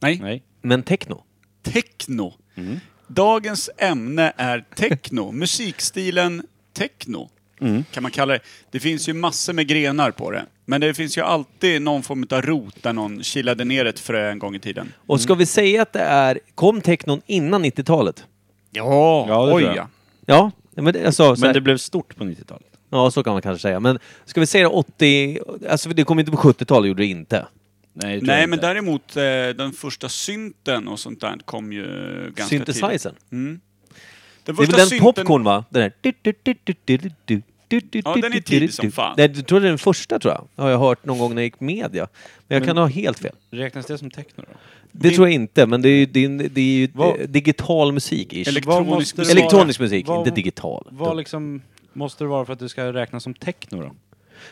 B: Nej,
C: Nej.
A: men techno.
B: techno.
A: Mm.
B: Dagens ämne är
A: (laughs)
B: techno. Musikstilen techno.
A: Mm.
B: Kan man kalla det. Det finns ju massor med grenar på det. Men det finns ju alltid någon form av rot där någon kilade ner ett frö en gång i tiden.
A: Och ska vi säga att det är, kom technon innan 90-talet?
B: Ja,
C: Ja, det
B: oj
C: tror jag.
B: ja.
A: Ja, men det, alltså, så
C: Men
A: här,
C: det blev stort på 90-talet.
A: ja, så kan man kanske säga. Men ska vi säga det 80, alltså det kom inte på 70-talet, gjorde det inte.
C: Nej, det tror
B: Nej,
C: jag
B: men
C: inte.
B: däremot eh, den första synten och sånt där kom ju ganska tidigt.
A: Synthesizern.
B: Den
A: Det är
B: första
A: väl den
B: synten-
A: popcorn va? Den där.
B: Ja, den är tidig som fan.
A: Nej, jag tror det är den första tror jag. Har jag hört någon gång när jag gick media. Men jag kan ha helt fel.
C: Räknas det som techno då?
A: Det tror jag inte, men det är ju, det är, en- det är ju
C: Vad-
A: eh, digital musik ish.
B: Elekt-
C: Vad
B: Elektronisk
C: måste det
B: musik.
C: vara-
A: Elektronisk musik,
C: vad-
A: inte digital.
C: Vad liksom måste det vara för att det ska räknas som techno då?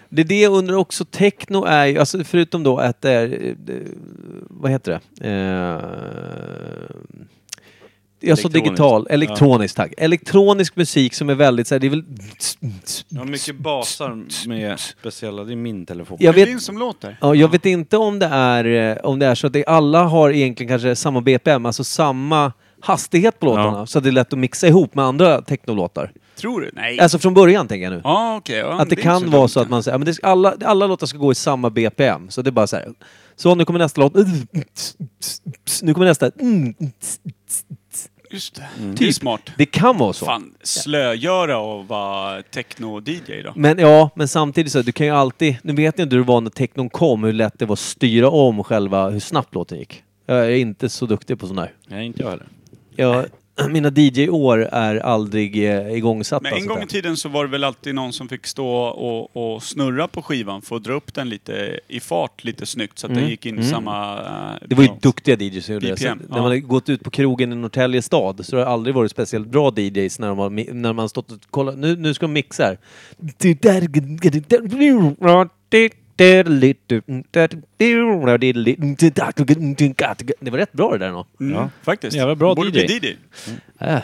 A: Det är det jag undrar också. Techno är ju, alltså förutom då att det är, eh, eh, vad heter det? Eh, jag sa
C: Elektroniskt.
A: digital, elektronisk tack. Elektronisk musik som är väldigt så här, det är väl...
C: Jag har mycket basar med speciella, det är min telefon.
A: Jag
B: Det är
A: vet,
B: din som låter.
A: Ja, jag vet inte om det är, eh, om det är så att det, alla har egentligen kanske samma BPM, alltså samma hastighet på låtarna.
C: Ja.
A: Så att det är lätt att mixa ihop med andra technolåtar.
B: Tror du? Nej.
A: Alltså från början tänker jag nu.
B: Ja, ah, okej. ja,
A: att det,
B: är
A: kan
B: inte
A: vara
B: dumt,
A: så att
B: ja.
A: man säger, ja, men det ska, alla, alla låtar ska gå i samma BPM. Så det är bara så här. Så nu kommer nästa låt. Nu kommer nästa.
B: Just det.
A: Mm.
B: Det är smart.
A: Det kan vara så.
B: Fan, slögöra och vara techno-DJ då.
A: Men ja, men samtidigt så, du kan ju alltid... Nu vet jag inte hur det var när technon kom, hur lätt det var att styra om själva, hur snabbt låten gick. Jag är inte så duktig på sån här.
C: Nej, inte jag heller.
A: Jag, (clears throat) mina DJ-år är aldrig eh, igångsatta.
B: Men en
A: så
B: gång
A: att
B: i
A: säga.
B: tiden så var det väl alltid någon som fick stå och, och snurra på skivan för att dra upp den lite i fart lite snyggt så att den gick in i samma... eh,
A: Mm. Det var ju
B: ja.
A: duktiga DJs som gjorde det.
B: BPM,
A: Sen,
B: ja.
A: När man har gått ut på krogen i Norrtälje stad så har det aldrig varit speciellt bra DJs när, de har, mi- när man har stått och kollat. Nu, nu ska de mixa här. Det var rätt bra det där nog.
B: Mm,
C: Ja.
B: Faktiskt.
C: Jävla bra
B: Borde
C: DJ.
B: bli DJ.
A: Äh.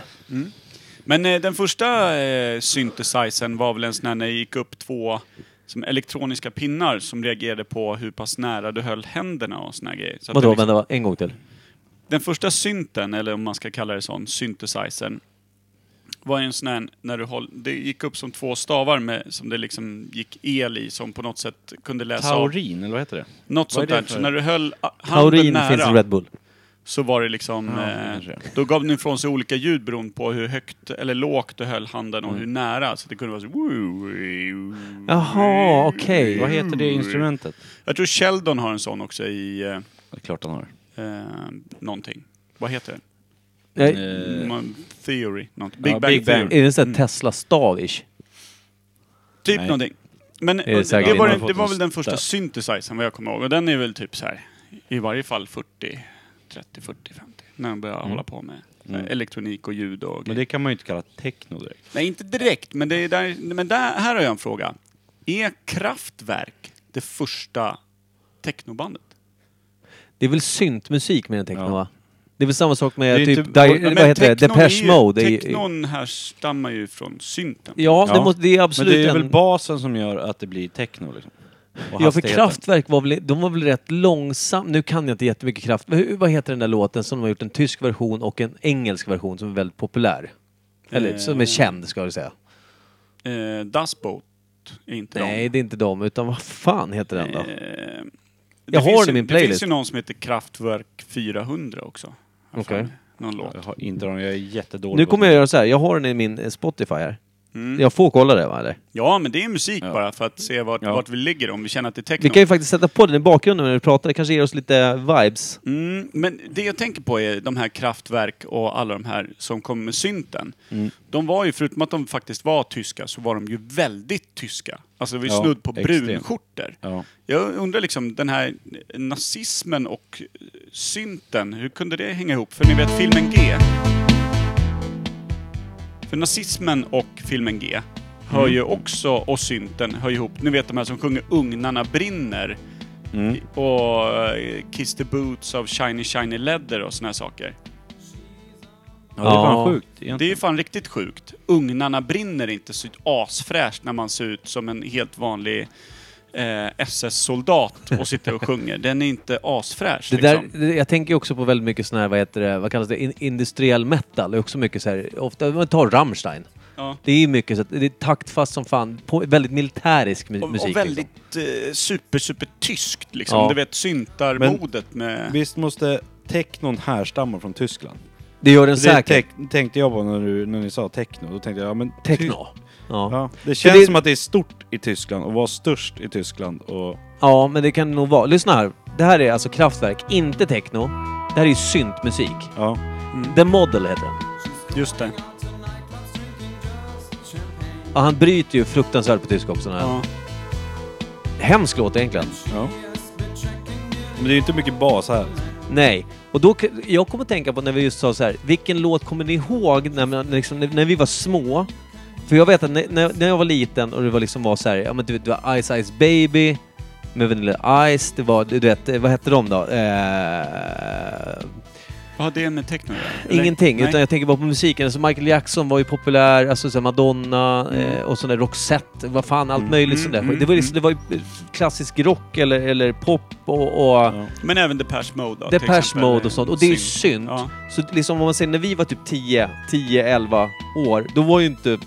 B: Men eh, den första eh, synthesizern var väl en sån här när det gick upp två som elektroniska pinnar som reagerade på hur pass nära du höll händerna och såna här grejer. Så att det
A: Vadå,
B: liksom,
A: vänta, va? en gång till.
B: den första synten, eller om man ska kalla det sån, synthesizern, var ju en sån här när du håll, det gick upp som två stavar med, som det liksom gick el i som på något sätt kunde läsa av.
C: Taurin, eller vad heter det?
B: Något
C: Vad
B: sånt
C: är det
B: där.
C: för-
B: Så när du höll a- handen
A: Taurin
B: nära
A: finns i Red Bull.
B: så var det liksom...
C: Ja,
B: eh,
C: kanske.
B: då gav den ifrån sig olika ljud beroende på hur högt eller lågt du höll handen och hur nära. Så det kunde vara så...
A: Jaha,
B: Mm.
A: okej.
C: Vad heter det instrumentet?
B: Jag tror Sheldon har en sån också i eh,
C: Det är klart han har.
B: eh, någonting. Vad heter det?
A: Jag-
B: Mm.
C: Eh,
B: Man- Theory? Någonting. Big
C: Ja,
B: Bang
C: Big Bang.
B: Theory.
A: Är det en sån här Tesla-stav-ish?
B: Typ
C: Nej.
B: någonting. Men
A: är
B: det,
A: säkert
B: var,
A: inte.
B: det var väl den första
A: Där.
B: synthesizern vad jag kommer ihåg. Och den är väl typ så här i varje fall 40, 30, 40, 50. När de
A: Mm.
B: börjar hålla på med eh, elektronik och ljud och
C: Men
B: grejer.
C: det kan man ju inte kalla techno direkt.
B: Nej, inte direkt. Men, det är där, men där, här har jag en fråga. Är Kraftwerk det första technobandet?
A: Det är väl syntmusik mer än techno
C: Ja.
A: va? Det är väl samma sak med
B: är
A: typ,
B: inte-
A: di-
B: Ja, men
A: vad heter det,
B: technon är
A: Depeche
B: ju-
A: Mode. i- i-
B: Technon härstammar ju från synten.
A: Ja, Det,
C: Ja.
A: måste, det är
C: Men
A: absolut
C: det är
A: en...
C: väl basen som gör att det blir techno liksom. Och
A: Ja, för
C: hastigheten.
A: Kraftwerk var väl, de var väl rätt långsam. Nu kan jag inte jättemycket kraft. Men hur, vad heter den där låten som de har gjort en tysk version och en engelsk version som är väldigt populär? Eller
B: Eh.
A: som är känd, ska jag säga.
B: Eh, das Boat är inte
A: Nej,
B: de.
A: det är inte dem, utan vad fan heter den då?
B: Eh, det
A: Jag har
B: finns
A: den i
B: ju-
A: min
B: Det
A: playlist.
B: finns ju någon som heter Kraftwerk 400 också. Har
A: Okej.
B: för mig. Någon låt.
C: Jag har inte någon, jag är jättedålig
A: Nu
C: på
A: kommer
C: det.
A: jag göra så här. jag har den i min eh, Spotify här.
B: Mm.
A: Jag får kolla det va, eller?
B: Ja, men det är musik
C: Ja.
B: bara för att se vart,
C: Ja.
B: vart vi ligger om vi känner att det är techno.
A: Vi kan ju faktiskt sätta på den i bakgrunden när vi pratar, det kanske ger oss lite vibes.
B: Mm, men det jag tänker på är de här kraftverk och alla de här som kommer med synten.
A: Mm.
B: De var ju, förutom att de faktiskt var tyska, så var de ju väldigt tyska. Alltså det var ju
C: Ja,
B: snudd på
C: extremt.
B: brunskjortor.
C: Ja.
B: Jag undrar liksom, den här nazismen och synten, hur kunde det hänga ihop? För ni vet filmen G. För nazismen och filmen G hör ju också, och synten hör ihop. Ni vet de här som sjunger Ugnarna brinner och eh, Kiss the Boots av Shiny Shiny Leather och såna här saker.
C: ja, det är
A: Ja.
C: fan sjukt
B: Det är
C: egentligen.
B: ju fan riktigt sjukt. Ugnarna brinner inte så asfräscht när man ser ut som en helt vanlig eh, SS-soldat och sitter och sjunger. Den är inte asfräsch
A: Det där,
B: liksom.
A: det- jag tänker ju också på väldigt mycket sån här, vad heter det, vad kallas det, in, industriell metal. Det är också mycket så här, ofta, man tar Rammstein.
B: Ja.
A: Det är mycket så att det är taktfast som fan, på, väldigt militärisk mu-
B: Och,
A: musik. liksom.
B: och väldigt eh, super, super tyskt liksom.
A: Ja.
B: Du vet syntarmodet med...
C: Visst måste technon härstamma från Tyskland?
A: Det gör den
C: Det
A: säkert.
C: tek- tänkte jag på när, du, när ni sa techno. Då tänkte jag, ja men... ty-
A: Techno. Ja. Ja.
C: Ja, det känns
A: det-
C: som att det är stort i Tyskland och var störst i Tyskland och...
A: men det kan det nog vara. Lyssna här. Det här är alltså Kraftwerk, inte techno. Det här är ju syntmusik.
C: Ja.
B: Mm.
A: The Model heter den.
B: Just det.
A: Ja, han bryter ju fruktansvärt på tyska också. den här.
B: Ja.
A: Hemsk låt egentligen.
C: ja. Men det är ju inte mycket bas här.
A: Nej. Och då, k- jag kommer att tänka på när vi just sa så här, vilken låt kommer ni ihåg när, man, liksom, när, när vi var små? För jag vet att när, när, när jag var liten och det var liksom var så här, ja men du vet, det var Ice Ice Baby med Vanilla Ice, det var, du vet, eh, vad hette de då? Eh,
B: Vad har det med techno att göra? Eller-
A: ingenting,
B: Nej.
A: utan jag tänker bara på musiken. Alltså Michael Jackson var ju populär, alltså så här Madonna eh, och sån där Roxette, vad fan, allt möjligt
B: Mm,
A: sånt där.
B: mm,
A: det, var liksom, det var ju klassisk rock eller, eller pop och, och
B: Men även Depeche Mode då, till
A: Depeche
B: exempel.
A: Mode och sånt. Och det är ju
B: Synt.
A: synt.
B: Ja.
A: Så liksom om man säger när vi var typ 10, 10, 11 år, då var ju inte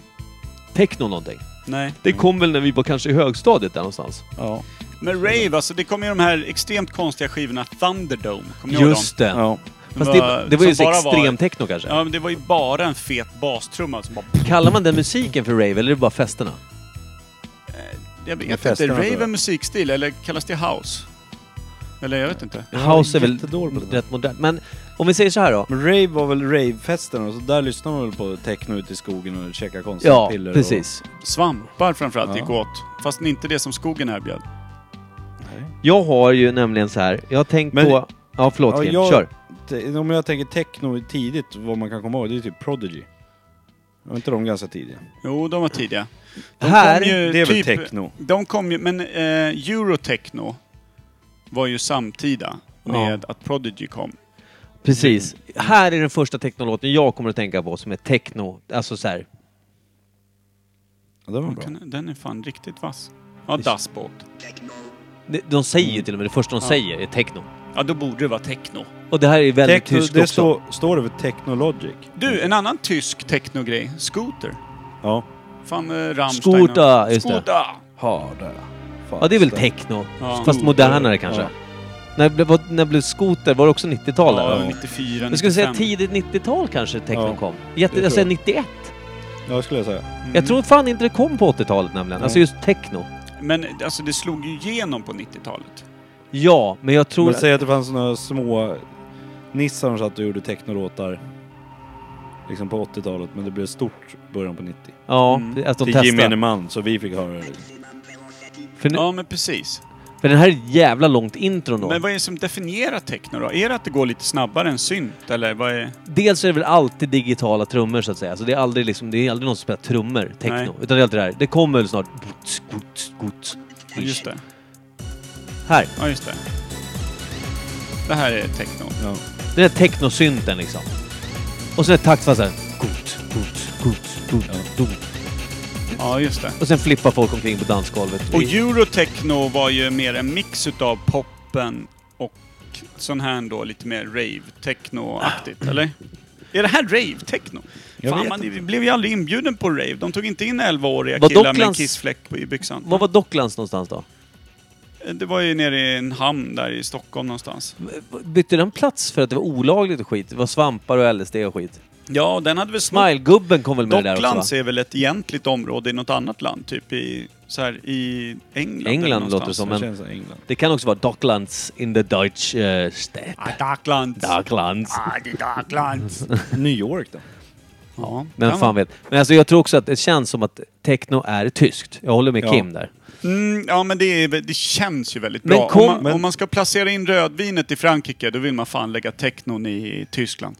A: techno någonting.
B: Nej.
A: Det kom väl när vi var kanske i högstadiet där någonstans.
C: Ja.
B: Men rave, alltså det kom ju de här extremt konstiga skivorna Thunderdome. Kommer ni ihåg dem?
A: Just det.
C: ja.
A: Fast
B: Det
A: det,
B: var-
A: det var ju
B: som
A: så
B: bara var-
A: extrem techno kanske.
B: Ja, men det var ju bara en fet bastrumma som bara...
A: Kallar man den musiken för rave eller är det bara festerna?
B: Jag
C: Med
B: vet inte,
C: festerna, tror
B: rave
C: jag.
B: är musikstil eller kallas det house? Eller jag vet inte.
A: House är väl
C: jättedålig på det där.
A: rätt modernt. Men om vi säger så här då.
C: Men rave var väl ravefesterna och så där lyssnar man väl på techno ute i skogen och käkar konstiga
A: Ja,
C: piller
A: precis.
B: Svampar framförallt
C: Ja.
B: gick åt. Fast inte det som skogen erbjöd.
A: Jag har ju nämligen så här. jag har tänkt
C: Men-
A: på... Ja, förlåt
C: Ja,
A: Kim.
C: jag-
A: Kör.
C: Och... Te- Om jag tänker techno tidigt, vad man kan komma ihåg, det är typ Prodigy. Var inte de ganska tidiga?
B: Jo, de var tidiga. De
A: Här,
B: kom ju typ-
C: det är väl techno?
B: De kom ju, men eh, Eurotechno var ju samtida med att Prodigy kom.
A: Precis. Här är den första technolåten jag kommer att tänka på som är techno. Alltså så här.
C: Ja, det var bra.
B: Kan- Den är fan riktigt vass. Ja, Das Boot.
A: de- De säger ju till och med, det första de säger är techno.
B: Ja, då borde det vara techno.
A: Och det här är väldigt
C: Techno,
A: tyskt
C: det
A: också.
C: stå, står över Technologic.
B: Du, en annan tysk technogrej. Scooter.
C: Ja.
B: Fan, eh, Rammstein. och-
A: Skoda, just det.
B: Skoda!
C: Harda.
A: Ja, det är väl techno.
B: Ja.
A: Fast modernare kanske.
C: Ja.
A: När, blev, vad- när blev skoter? Var det också 90-tal?
B: Ja,
A: eller?
B: 94,
A: jag skulle säga
B: 95.
A: tidigt 90-tal kanske techno
C: Ja,
A: kom.
C: tror
A: Jätte, jag
C: jag. Mm.
A: säger 91.
C: Ja, skulle jag säga.
A: Jag tror fan inte det kom på 80-talet nämligen. Alltså just techno.
B: Men alltså det slog ju igenom på 90-talet.
A: Ja, men jag tror...
C: Men säg att det fanns några små nissar som satt och gjorde technolåtar liksom på 80-talet, men det blev stort i början på 90.
A: ja,
B: Mm.
A: alltså att de
C: Till gemene
A: testar.
C: man, så vi fick höra det.
A: För, nu-
B: Ja, men precis.
A: för den här är ett jävla långt intro då.
B: Men vad är det som definierar techno då? Är det att det går lite snabbare än synt, eller vad är...
A: Dels är det väl alltid digitala trummor så att säga. Alltså det är aldrig, liksom, det är aldrig någon som spelar trummor, techno.
B: Nej.
A: Utan det är alltid det här. Det kommer väl snart... Boots, boots, boots.
B: Ja, Just det.
A: Här.
B: Ja, just det. Det här är techno.
C: Ja.
A: Den där technosynten liksom. Och sen ett taktfast såhär... Gut, gut, gut, gut, gut.
B: Ja, just det.
A: Och sen flippar folk omkring på dansgolvet.
B: Och Eurotechno var ju mer en mix utav poppen och sån här då lite mer
A: (clears throat)
B: rave-techno-aktigt, eller? Är det här rave-techno?
C: Jag
B: Fan,
C: vet
B: man blev ju aldrig inbjuden på rave. De tog inte in 11-åriga
A: Var
B: killar med en
A: Docklands-
B: kissfläck på, i byxan.
A: Var var Docklands någonstans då?
B: Eh, Det var ju nere i en hamn där i Stockholm någonstans.
A: Bytte den plats för att det var olagligt och skit? Det var svampar och LSD och skit.
B: Ja, den hade väl snott
A: Smilegubben kom väl med det där
B: Mm. Docklands
A: också va?
B: är väl ett egentligt område i något annat land, typ i, så här, i England. eller
A: England
B: någonstans.
A: låter det som,
C: Det
A: men-
C: känns som England.
A: Det kan också vara Docklands in the Deutsch uh, stat.
B: Ah, Docklands.
A: Docklands.
B: Ah, det är
A: (laughs)
B: Docklands.
C: New York då?
B: ja,
A: Men
B: kan
A: fan vet. Men alltså jag tror också att det känns som att techno är tyskt. Jag håller med
C: Ja.
A: Kim där.
B: Mm, ja, men det, är, det känns ju väldigt
A: Men
B: bra.
A: kom-
B: om, man,
A: men-
B: om man ska placera in rödvinet i Frankrike, då vill man fan lägga technon i Tyskland.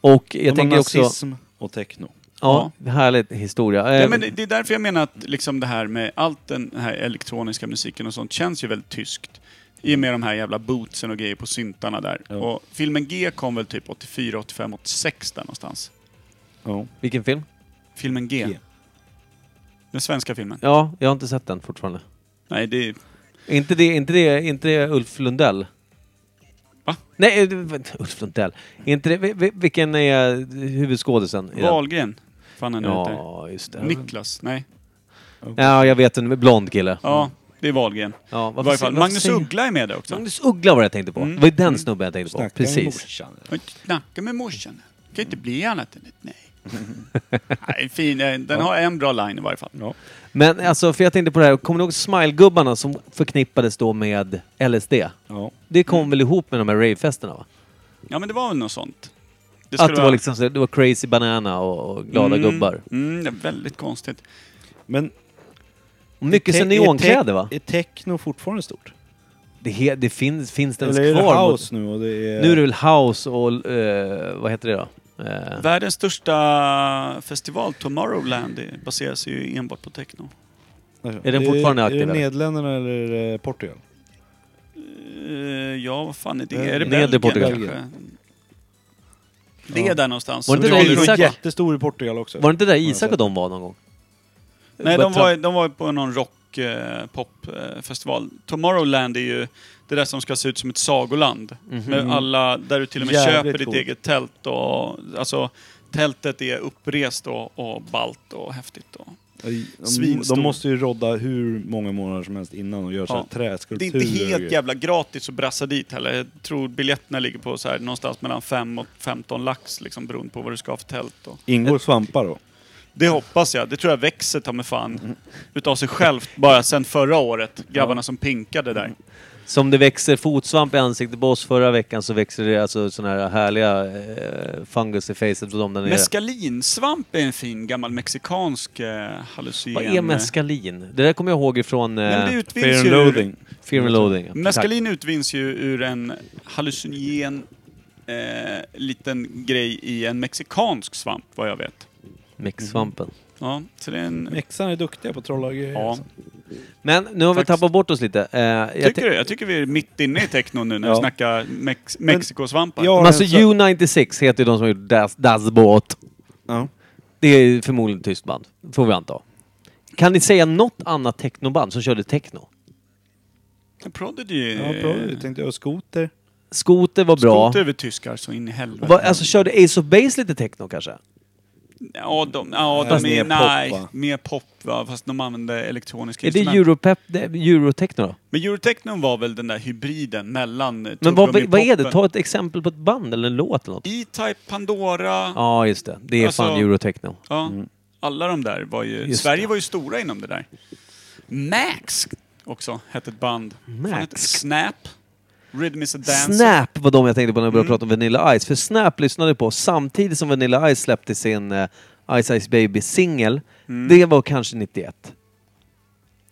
A: Och jag
C: Jag
A: tänker också...
C: nazism och techno.
A: Ja, härlig historia.
B: Ja,
A: Eh,
B: men det, det är därför jag menar att liksom det här med allt den här elektroniska musiken och sånt känns ju väldigt tyskt. I och med de här jävla bootsen och grejer på syntarna där. Och filmen G kom väl typ 84, 85, 86 där någonstans.
C: Ja.
A: Vilken film?
B: Filmen G.
C: G.
B: Den svenska filmen.
A: Ja, jag har inte sett den fortfarande.
B: Nej, det är...
A: Inte det, inte det, inte det Ulf Lundell?
B: Va?
A: Nej, eh, vänta, Ulf Lundell. Inte det, vi- vi- vilken är huvudskådisen? i den?
B: Wahlgren. Fan han heter.
A: Ja, just det.
B: Niklas. Nej.
A: Ja, jag vet en blond kille.
B: Ja, det är Wahlgren.
A: Ja,
B: I
A: varför
B: varje
A: säger-
B: fall.
A: varför
B: Magnus
A: säger-
B: Uggla är med där också. Mm.
A: Magnus Uggla var det jag tänkte på. Det var ju den snubben jag tänkte på.
C: Snackar med
A: Precis.
C: morsan, eller?
B: Jag snackar med morsan. Det kan inte bli annat än ett
A: (laughs)
B: nej. nej, fin. eh, Den har en bra line i varje fall.
C: Ja.
A: Men alltså, för jag tänkte på det här. Kommer ni ihåg smilegubbarna som förknippades då med LSD?
C: Ja.
A: Det kom
B: Mm.
A: väl ihop med de här ravefesterna va?
B: Ja, men det var väl något sånt. Det
A: Att
B: skulle
A: det var liksom så, det var crazy banana och, och glada
B: Mm,
A: gubbar.
B: Mm, det är väldigt konstigt.
C: Men...
A: Och mycket
C: te-
A: så
C: är te-
A: neonkläder va?
C: Är techno fortfarande stort?
A: Det, he- det finns, finns det ens
C: Eller är det
A: kvar? mot-
C: house nu och det är...
A: Nu är det väl house och... eh, vad heter det då? Eh,
B: Världens största festival, Tomorrowland, det baserar sig ju enbart på techno.
C: Alltså,
A: är den fortfarande aktiv,
C: Är det
A: eller?
C: Nederländerna eller är det Portugal?
B: Eh, ja, vad fan är det?
C: Eh,
B: Är det
A: nedre
B: Belgien
A: Portugal.
B: kanske? Det är där någonstans.
A: Var det
B: Så
A: inte
B: vi
A: där
B: håller-
A: Isak-
C: jättestor i Portugal också.
A: var det inte där Isak och de var någon gång?
B: Nej,
A: Bara
B: de var, de var ju på någon rock eh, pop eh, festival. Tomorrowland är ju det där som ska se ut som ett sagoland. Med alla, där du till och med
C: Mhm. Jävligt
B: köper ditt
C: coolt.
B: eget tält och alltså tältet är upprest och, och balt och häftigt. Och.
C: de,
B: Svinstor.
C: de måste ju rodda hur många månader som helst innan och göra så här
B: Ja. Det är
C: träskulpturer.
B: inte
C: och
B: helt
C: grejer.
B: jävla gratis att brassa dit heller. Jag tror biljetterna ligger på så här, någonstans mellan 5 och 15 lax liksom, beroende på vad du ska ha för tält. Och.
C: Ingår svampar då?
B: Det hoppas jag. Det tror jag växer ta mig
C: Mm.
B: fan utav sig självt bara sen förra året. Grabbarna som pinkade
C: Mm.
B: där.
A: Som det växer fotsvamp i ansiktet på oss förra veckan så växer det alltså såna här härliga eh, fungus i facet på dem där nere.
B: Mescalinsvamp är en fin gammal mexikansk eh, hallucinogen.
A: Vad är meskalin? Det där kommer jag ihåg ifrån
B: Nej, men
A: eh,
B: det utvinns
C: Fear and
B: ju
C: loading.
A: Fear and Loading. ja.
B: Meskalin utvinns ju ur en hallucinogen eh, liten grej i en mexikansk svamp, vad jag vet.
A: Tack. Mexsvampen.
B: Ja, så det är en...
C: Mexarna är duktiga på att trolla och grejer.
B: Ja.
C: alltså.
A: Men nu har vi
B: Faktiskt.
A: tappat bort oss lite. Eh, jag
B: Tycker
A: tänk-
B: du? Jag tycker vi är mitt inne i techno nu när vi
C: Ja.
B: snackar mex- Mexikosvampar.
C: Jag har
A: Men alltså
C: en så-
A: U96 heter ju de som har gjort Das, das Boot.
C: Ja.
A: Det är ju förmodligen ett tyskt band, får vi anta. Kan ni säga något annat technoband som körde techno?
B: Prodigy... eh,
C: Ja, bra. Jag tänkte jag skoter.
A: Skoter var bra.
B: Skoter över tyskar så in i helvete.
A: Va, alltså körde Ace of Base lite techno kanske?
B: Ja, de, ja,
C: Fast
B: de är...
C: mer pop,
B: nej,
C: va?
B: mer pop va? Fast de använde elektroniska
A: Är det
B: instrument.
A: Europep, det är Eurotechno då?
B: Men Eurotechnon var väl den där hybriden mellan eh,
A: Men vad,
B: tuggummi-poppen.
A: vad är det? Ta ett exempel på ett band eller en låt eller något.
B: E-Type, Pandora,
A: Ja, just det. Det är fan
B: Alltså-
A: Eurotechno.
B: ja, alla de där var ju...
A: Just
B: Sverige
A: det.
B: var ju stora inom det där. Max också hette ett band. Fan,
A: Max.
B: hette Snap, Rhythm is a Dancer.
A: Snap var de jag tänkte på när jag började
B: Mm.
A: prata om Vanilla Ice. För Snap lyssnade jag på samtidigt som Vanilla Ice släppte sin eh, Ice Ice Baby-singel. Det var kanske 91.
B: Mm.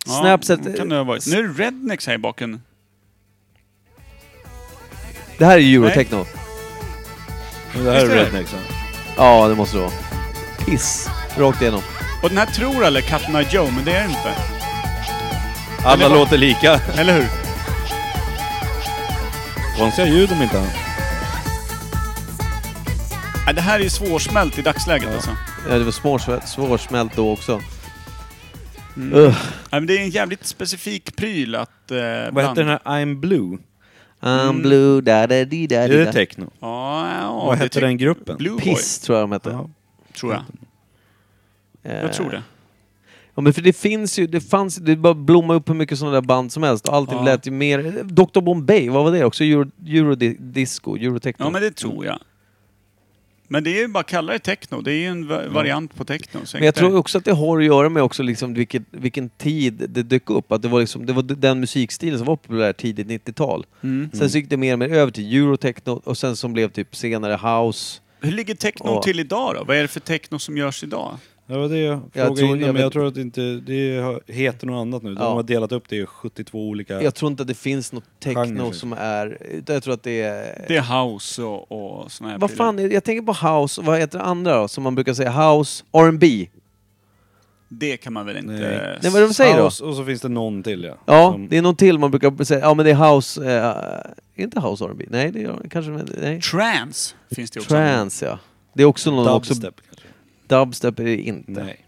B: Ja,
A: Snap sett-
B: kan det ha varit. Nu är det Rednex här i baken.
A: Det här är Eurotechno.
C: Men Det här
B: Visst är
C: är
B: det?
C: Rednexen.
A: Ja, det måste det vara. Piss. Rakt igenom.
B: Och den här tror alla Cat Night Joe, men det är det inte.
C: Alla låter lika.
B: Eller hur?
C: Konstiga ljud om inte annat.
B: Nej, Det här är ju svårsmält i dagsläget alltså.
A: Ja, det var svår, svårsmält då också.
B: Mm.
A: Ugh.
B: Nej, men det är en jävligt specifik pryl att... Eh,
C: Vad heter den här I'm Blue?
A: I'm
B: Mm.
A: blue, da da di da
C: Är
A: di
C: det
A: da.
C: techno?
B: Ja, ja,
C: Vad
B: det
C: hette
B: tyck-
C: den gruppen?
B: Blue Boy,
A: Piss tror jag de hette.
C: Ja.
B: tror jag.
A: Eh,
B: Jag tror det.
A: Ja, men för det finns ju, det fanns det bara blommar upp hur mycket sådana där band som helst. Allt
B: Ja.
A: lät ju mer... Dr Bombay, vad var det också? Euro, eurodisco, eurotechno?
B: Ja, men det tror jag. Men det är ju bara att kalla det techno. Det är ju en va- variant på techno. så
A: Mm. Men jag
B: enkelt är
A: tror
B: det.
A: också att det har att göra med också liksom vilken, vilken tid det dök upp. Att det var, liksom, det var den musikstilen som var populär tidigt 90-tal.
B: Mm.
A: Sen så gick det mer och mer över till eurotechno och sen som blev typ senare house.
B: Hur ligger techno
A: Ja.
B: till idag då? Vad är det för techno som görs idag?
C: Det var det jag
A: Jag
C: frågade
A: tror-
C: innan,
A: jag
C: men jag
A: vet-
C: tror att inte, det har- heter något annat nu. De
A: Ja.
C: har delat upp det i 72 olika...
A: Jag tror inte att det finns något
C: Genre
A: techno
C: finns.
A: som är... utan Jag tror att det är...
B: Det är house och, och såna här
A: vad
B: prylar.
A: fan, är- jag tänker på house, vad heter det andra då? Som man brukar säga, house, R&B
B: Det kan man väl inte...
C: Nej.
B: Nej.
A: Nej, vad de säger då?
C: House, och så finns det någon till ja.
A: Ja,
C: Som-
A: det är någon till man brukar säga. Ja, men det är house... Eh, är inte house R&B Nej, det är kanske... Nej.
B: Trance finns det också.
A: Trance, ja. Det är också någon... Också,
C: Dubstep kanske?
A: dubstep är det inte.
C: Nej.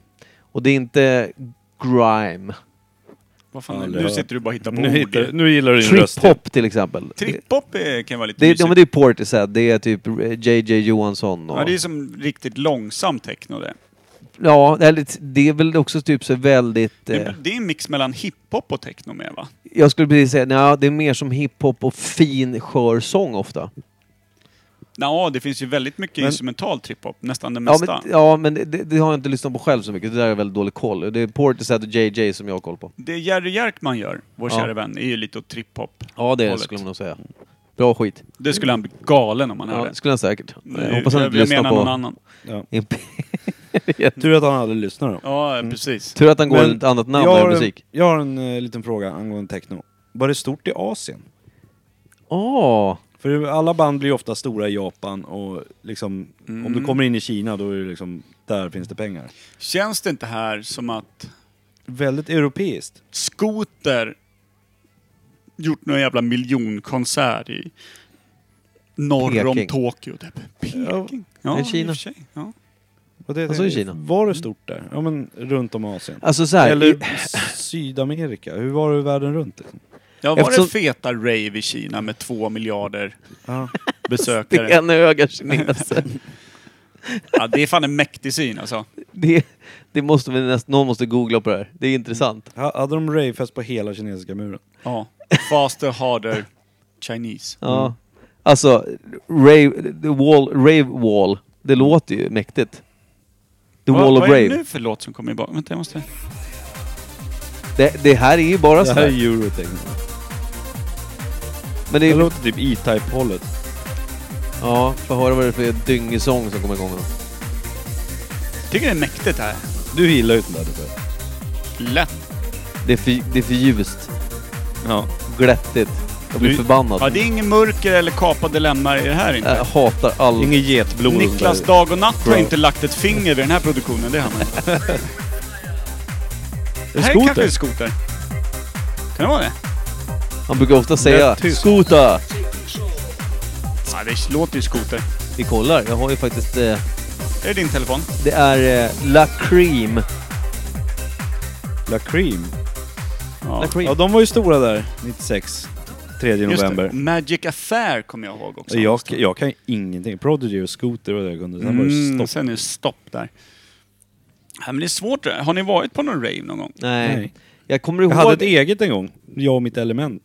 A: Och det är inte grime.
B: Vad fan, är det?
C: Aldrig
B: nu
C: hört.
B: sitter du bara och hittar på
C: Nu, hittar,
B: ord.
C: nu gillar du din röst. igen.
A: Trip-hop till exempel. Det,
B: Trip-hop eh, kan vara lite
A: det,
B: mysigt.
A: ja, men det är Portishead, det är typ eh, JJ Johansson och...
B: Ja, det är som riktigt långsam techno det.
A: Ja, eller t- det är väl också typ så väldigt... Eh,
B: Det, det är en mix mellan hiphop och techno med va?
A: jag skulle precis säga, nej, det är mer som hiphop och fin skör sång ofta.
B: Ja, det finns ju väldigt mycket
C: Men-
B: instrumental trip-hop, nästan det
A: Ja
B: mesta.
A: men, ja, men det, det har jag inte lyssnat på själv så mycket. Det där är väldigt dålig koll. Det är Portishead och JJ som jag har koll på.
B: Det Jerry Jerkman gör, vår
A: Ja.
B: kära vän, är ju lite åt trip-hop.
A: Ja, det
B: Hållet.
A: skulle man nog säga. Bra skit.
B: Det skulle han bli galen om han
A: Ja,
B: hörde.
A: det skulle jag säkert.
B: Jag
A: Jag hoppas han
B: jag
A: inte
B: menar
A: lyssnar
B: någon
A: på...
B: annan.
C: Ja.
A: Imp- (laughs)
C: Tur att han aldrig lyssnar då.
B: Ja,
A: Mm.
B: precis.
A: Tur att han går
C: Men
A: under ett annat namn
C: jag,
A: än
C: har en,
A: musik.
C: jag har en eh, liten fråga angående techno. Var det stort i Asien?
A: Åh!
C: För alla band blir ju ofta stora i Japan och liksom, om
A: Mm.
C: du kommer in i Kina då är det liksom, där finns det pengar.
B: Känns det inte här som att
C: Väldigt europeiskt.
B: Skoter gjort någon jävla miljonkonsert i norr om
A: Peking.
B: Tokyo? Typ. Peking? Ja,
A: Nej, Kina.
B: i och för sig. Ja.
C: Vad det jag
A: Alltså i
C: tänkte,
A: Kina.
C: Var det stort där? Ja men runt om Asien.
A: Alltså så här, i-
C: Eller Sydamerika. Hur var det världen runt? Liksom?
B: ja var
A: Eftersom-
B: det feta rave i Kina med
A: (laughs)
B: två miljarder
C: Ja.
A: Det är
B: besökare?
A: en öga
C: (laughs)
A: kineser.
B: Ja, det är fan en mäktig syn alltså.
A: Det, det måste vi nästan, någon måste googla på det här. Det är intressant.
C: Ha- Hade de ravefest på hela kinesiska muren?
B: Ja. Faster, harder, Chinese.
C: Mm.
A: Ja. Alltså, rave, the wall, rave wall. Det låter ju mäktigt. The
B: Vad-
A: wall of
B: Vad är det
A: rave.
B: nu för låt som kommer i bak? Vänta, jag måste...
A: Det, det här är ju bara
C: Det
A: så
C: här är
A: här.
C: eurotechno.
A: Men det
C: Det
A: är,
C: låter typ E-Type-hållet.
A: ja, får höra vad det är för dyngesång som kommer igång då.
B: Tycker det är mäktigt det här.
C: Du gillar ju inte det där
B: Lätt.
A: Det är för, det är för ljust.
C: Ja.
A: Glättigt. Jag blir
B: Du-
A: förbannad. Äh,
B: Ja, det är ingen mörker eller kapade lämmar i det här inte.
A: Jag hatar all...
C: Inget getblod. och sånt
B: Niklas
C: där.
B: Dag och Natt har
C: Bra.
B: inte lagt ett finger vid den här produktionen, det
A: (laughs)
B: har man inte. Det
C: En
B: här är
C: skoter.
B: kanske en skoter. Kan det vara det?
A: Han brukar ofta säga
C: Lätt tyst.
A: Skota!
B: Ja, det låter ju skoter.
A: Vi kollar. Jag har ju faktiskt... Eh,
B: Är det din telefon?
A: det är eh, La Cream.
C: La Cream.
B: Ja.
C: Ja, de var ju stora där 96. 3
B: Just
C: november.
B: det. Mm. Magic Affair kommer jag ihåg också.
C: Jag, jag kan ju ingenting. Prodigy och Scooter var det jag kunde. Sen var det
B: Mm,
C: stopp.
B: sen är det stopp där. Ja, men det är svårt. det här. Har ni varit på någon rave någon gång?
A: Nej.
C: Nej.
A: Jag kommer ihåg...
C: Jag hade ett eget en gång. Jag och mitt element.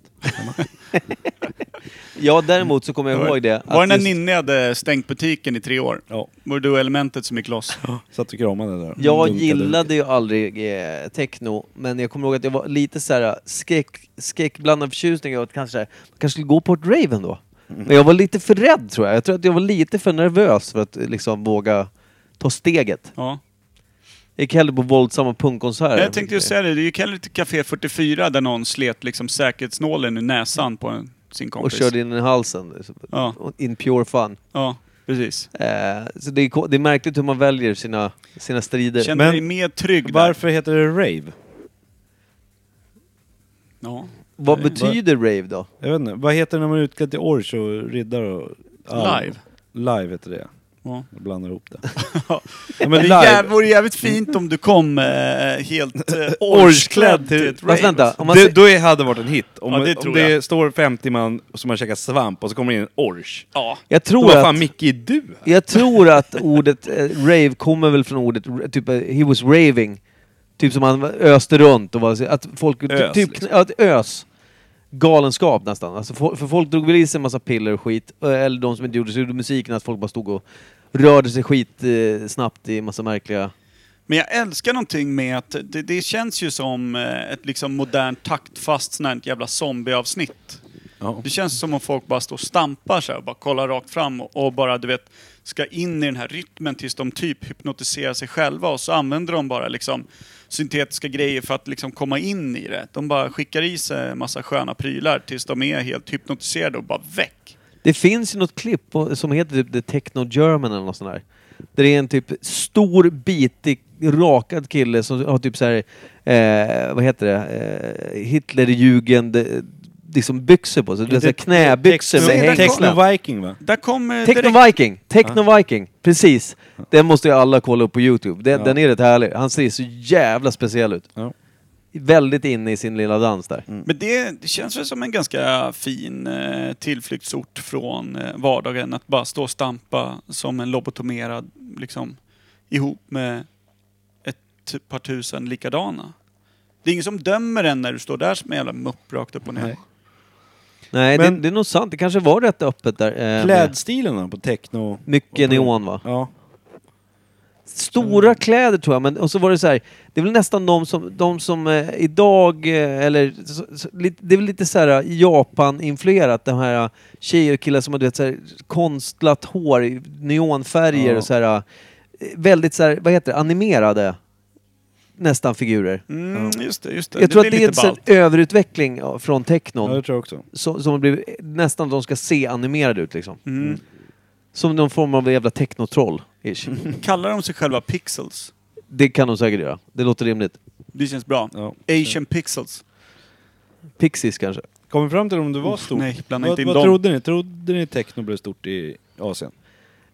A: Ja, däremot så kommer jag ihåg det.
B: Var det
A: att
B: när
A: just-
B: Ninni hade stängt butiken i tre år?
C: Ja.
B: Var det du och Elementet som gick loss?
C: Satt och kramade där.
A: Jag
C: Dunkade.
A: gillade ju aldrig eh, techno, men jag kommer ihåg att jag var lite så här eh, skräck, skräckblandad förtjusning över att kanske, så här, man kanske skulle gå på ett rave ändå.
B: Mm.
A: Men jag var lite för rädd tror jag. Jag tror att jag var lite för nervös för att eh, liksom våga ta steget.
B: Ja.
A: Jag gick hellre på våldsamma punkkonserter.
B: Jag tänkte ju säga det, det gick hellre till Café 44 där någon slet liksom säkerhetsnålen ur näsan på en, sin
A: Och
B: kompis.
A: körde in i halsen. liksom.
B: Ja,
A: In pure fun.
B: ja precis.
A: Eh, så det är, ko- det är märkligt hur man väljer sina, sina strider.
B: Kände
C: Men-
B: dig mer trygg där.
C: Varför heter det rave?
B: Ja.
A: Vad
B: Nej.
A: betyder rave då?
C: Jag vet inte. Vad heter det när man är utklädd till orch och riddare och...
B: Live.
C: Live heter det.
B: Ja.
C: Jag blandar ihop det.
B: Ja,
C: Ja,
B: Men
C: men
B: det
C: live,
B: jä- vore jävligt fint om du kom eh, helt eh,
C: Orgeklädd
B: orgeklädd
C: till-
B: till ett
A: Fast
B: rave.
A: vänta, om man
C: det,
A: ser-
C: då är- hade det varit en hit. Om,
B: Ja, det
C: om
B: tror
C: det
B: jag.
C: står 50 man som har käkat svamp och så kommer det in en orch.
B: Ja.
A: jag
C: Då
A: tror
C: vad fan
A: att...
C: Micke är du?
A: Jag tror att ordet eh, rave kommer väl från ordet r- typ eh, he was raving. Typ som han öste runt och var, så- att folk... ty-
C: Ös,
A: typ,
C: liksom.
A: ja, ett ös. Galenskap nästan. Alltså, for, för folk drog väl i sig en massa piller och skit. eh, Eller de som inte gjorde det, så gjorde musiken att folk bara stod och rörde sig skit eh, snabbt i massa märkliga...
B: Men jag älskar någonting med att det, det känns ju som eh, ett liksom modernt taktfast sånt här jävla zombieavsnitt.
C: Ja.
B: Det känns som om folk bara står och stampar så här, bara kollar rakt fram och, och bara du vet ska in i den här rytmen tills de typ hypnotiserar sig själva och så använder de bara liksom syntetiska grejer för att liksom komma in i det. De bara skickar i sig en massa sköna prylar tills de är helt hypnotiserade och bara väck.
A: Det finns ju något klipp på, som heter typ The Techno German eller något sånt där. Där det är en typ stor, bitig, rakad kille som har typ så här, eh, vad heter det, eh, Hitlerjugend eh, liksom byxor på sig. Det är så här knäbyxor med
B: Säg den
A: hängslen. Äh,
C: Techno Viking va?
B: Där kommer direkt...
A: Techno Viking! Techno Viking! Precis! Den måste ju alla kolla upp på Youtube. Den, den är rätt härlig. Han ser så jävla speciell ut.
C: Ja.
A: Väldigt inne i sin lilla dans där.
B: Men det, det känns väl som en ganska fin eh, tillflyktsort från eh, vardagen. Att bara stå och stampa som en lobotomerad liksom ihop med ett par tusen likadana. Det är ingen som dömer en när du står där som en jävla mupp rakt upp och ner.
C: Nej.
A: Nej, det,
C: Men-
A: det är nog sant. Det kanske var rätt öppet där. eh, med
C: Klädstilen då på techno?
A: mycket neon va?
C: Ja.
A: Stora
B: Mm.
A: kläder tror jag, men och så var det så här. Det är väl nästan de som, de som eh, idag, eh, eller så, så, lite- det är väl lite så här eh, Japan-influerat. De här eh, tjejer och killar som har du vet, så här, konstlat hår, i neonfärger
C: Ja.
A: och så här. eh, Väldigt så här, vad heter det, animerade nästan figurer.
B: Mm, just det, just det.
A: Jag tror
B: det
A: att det är en
B: lite
A: sån
B: ballt.
A: överutveckling ja, från technon.
C: ja, det tror jag också.
A: som, som har blivit, nästan att de ska se animerade ut liksom.
B: Mm.
A: Som någon form av jävla technotroll. ish.
B: (laughs) Kallar de sig själva pixels?
A: Det kan de säkert göra. Det låter rimligt.
B: Det känns bra.
C: Ja.
B: Asian pixels.
A: Pixies kanske.
C: Kom vi fram till om det var stort?
B: Nej, blanda
C: vad
B: inte in
C: vad
B: dem.
C: trodde ni? Trodde ni techno blev stort i Asien?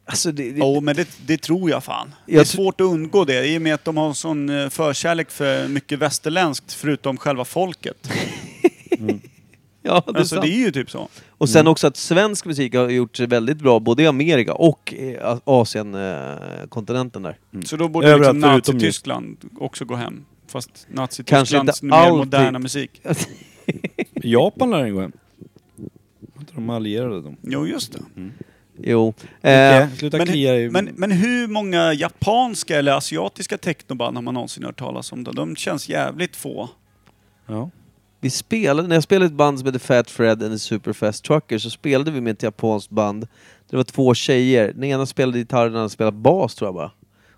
A: Alltså det, det,
B: Jo, men det, det tror jag fan. det
A: Jag
B: är
A: tr-
B: svårt att undgå det i och med att de har en sån eh, förkärlek för mycket västerländskt förutom själva folket.
A: ja, det är
B: alltså
A: sant.
B: det är ju typ så.
A: Och sen också att svensk musik har gjort sig väldigt bra både i Amerika och Asienkontinenten där.
B: Så då borde
C: Överallt
B: liksom
C: förutom just-
B: Nazityskland också gå hem. Fast Nazitysklands
A: inte
B: mer
A: alltid. (laughs)
B: moderna musik.
C: Japan lär den gå hem. Var inte de allierade de?
B: Jo, just det.
A: Mm. jo. Eh,
C: Okej, Sluta klia i...
B: Men, men, men hur många japanska eller asiatiska technoband har man någonsin hört talas om? Då? De känns jävligt få.
C: ja.
A: vi spelade, när jag spelade i ett band som hette Fat Fred and the Superfest Truckers så spelade vi med ett japanskt band. Det var två tjejer. Den ena spelade gitarr den andra spelade bas tror jag bara.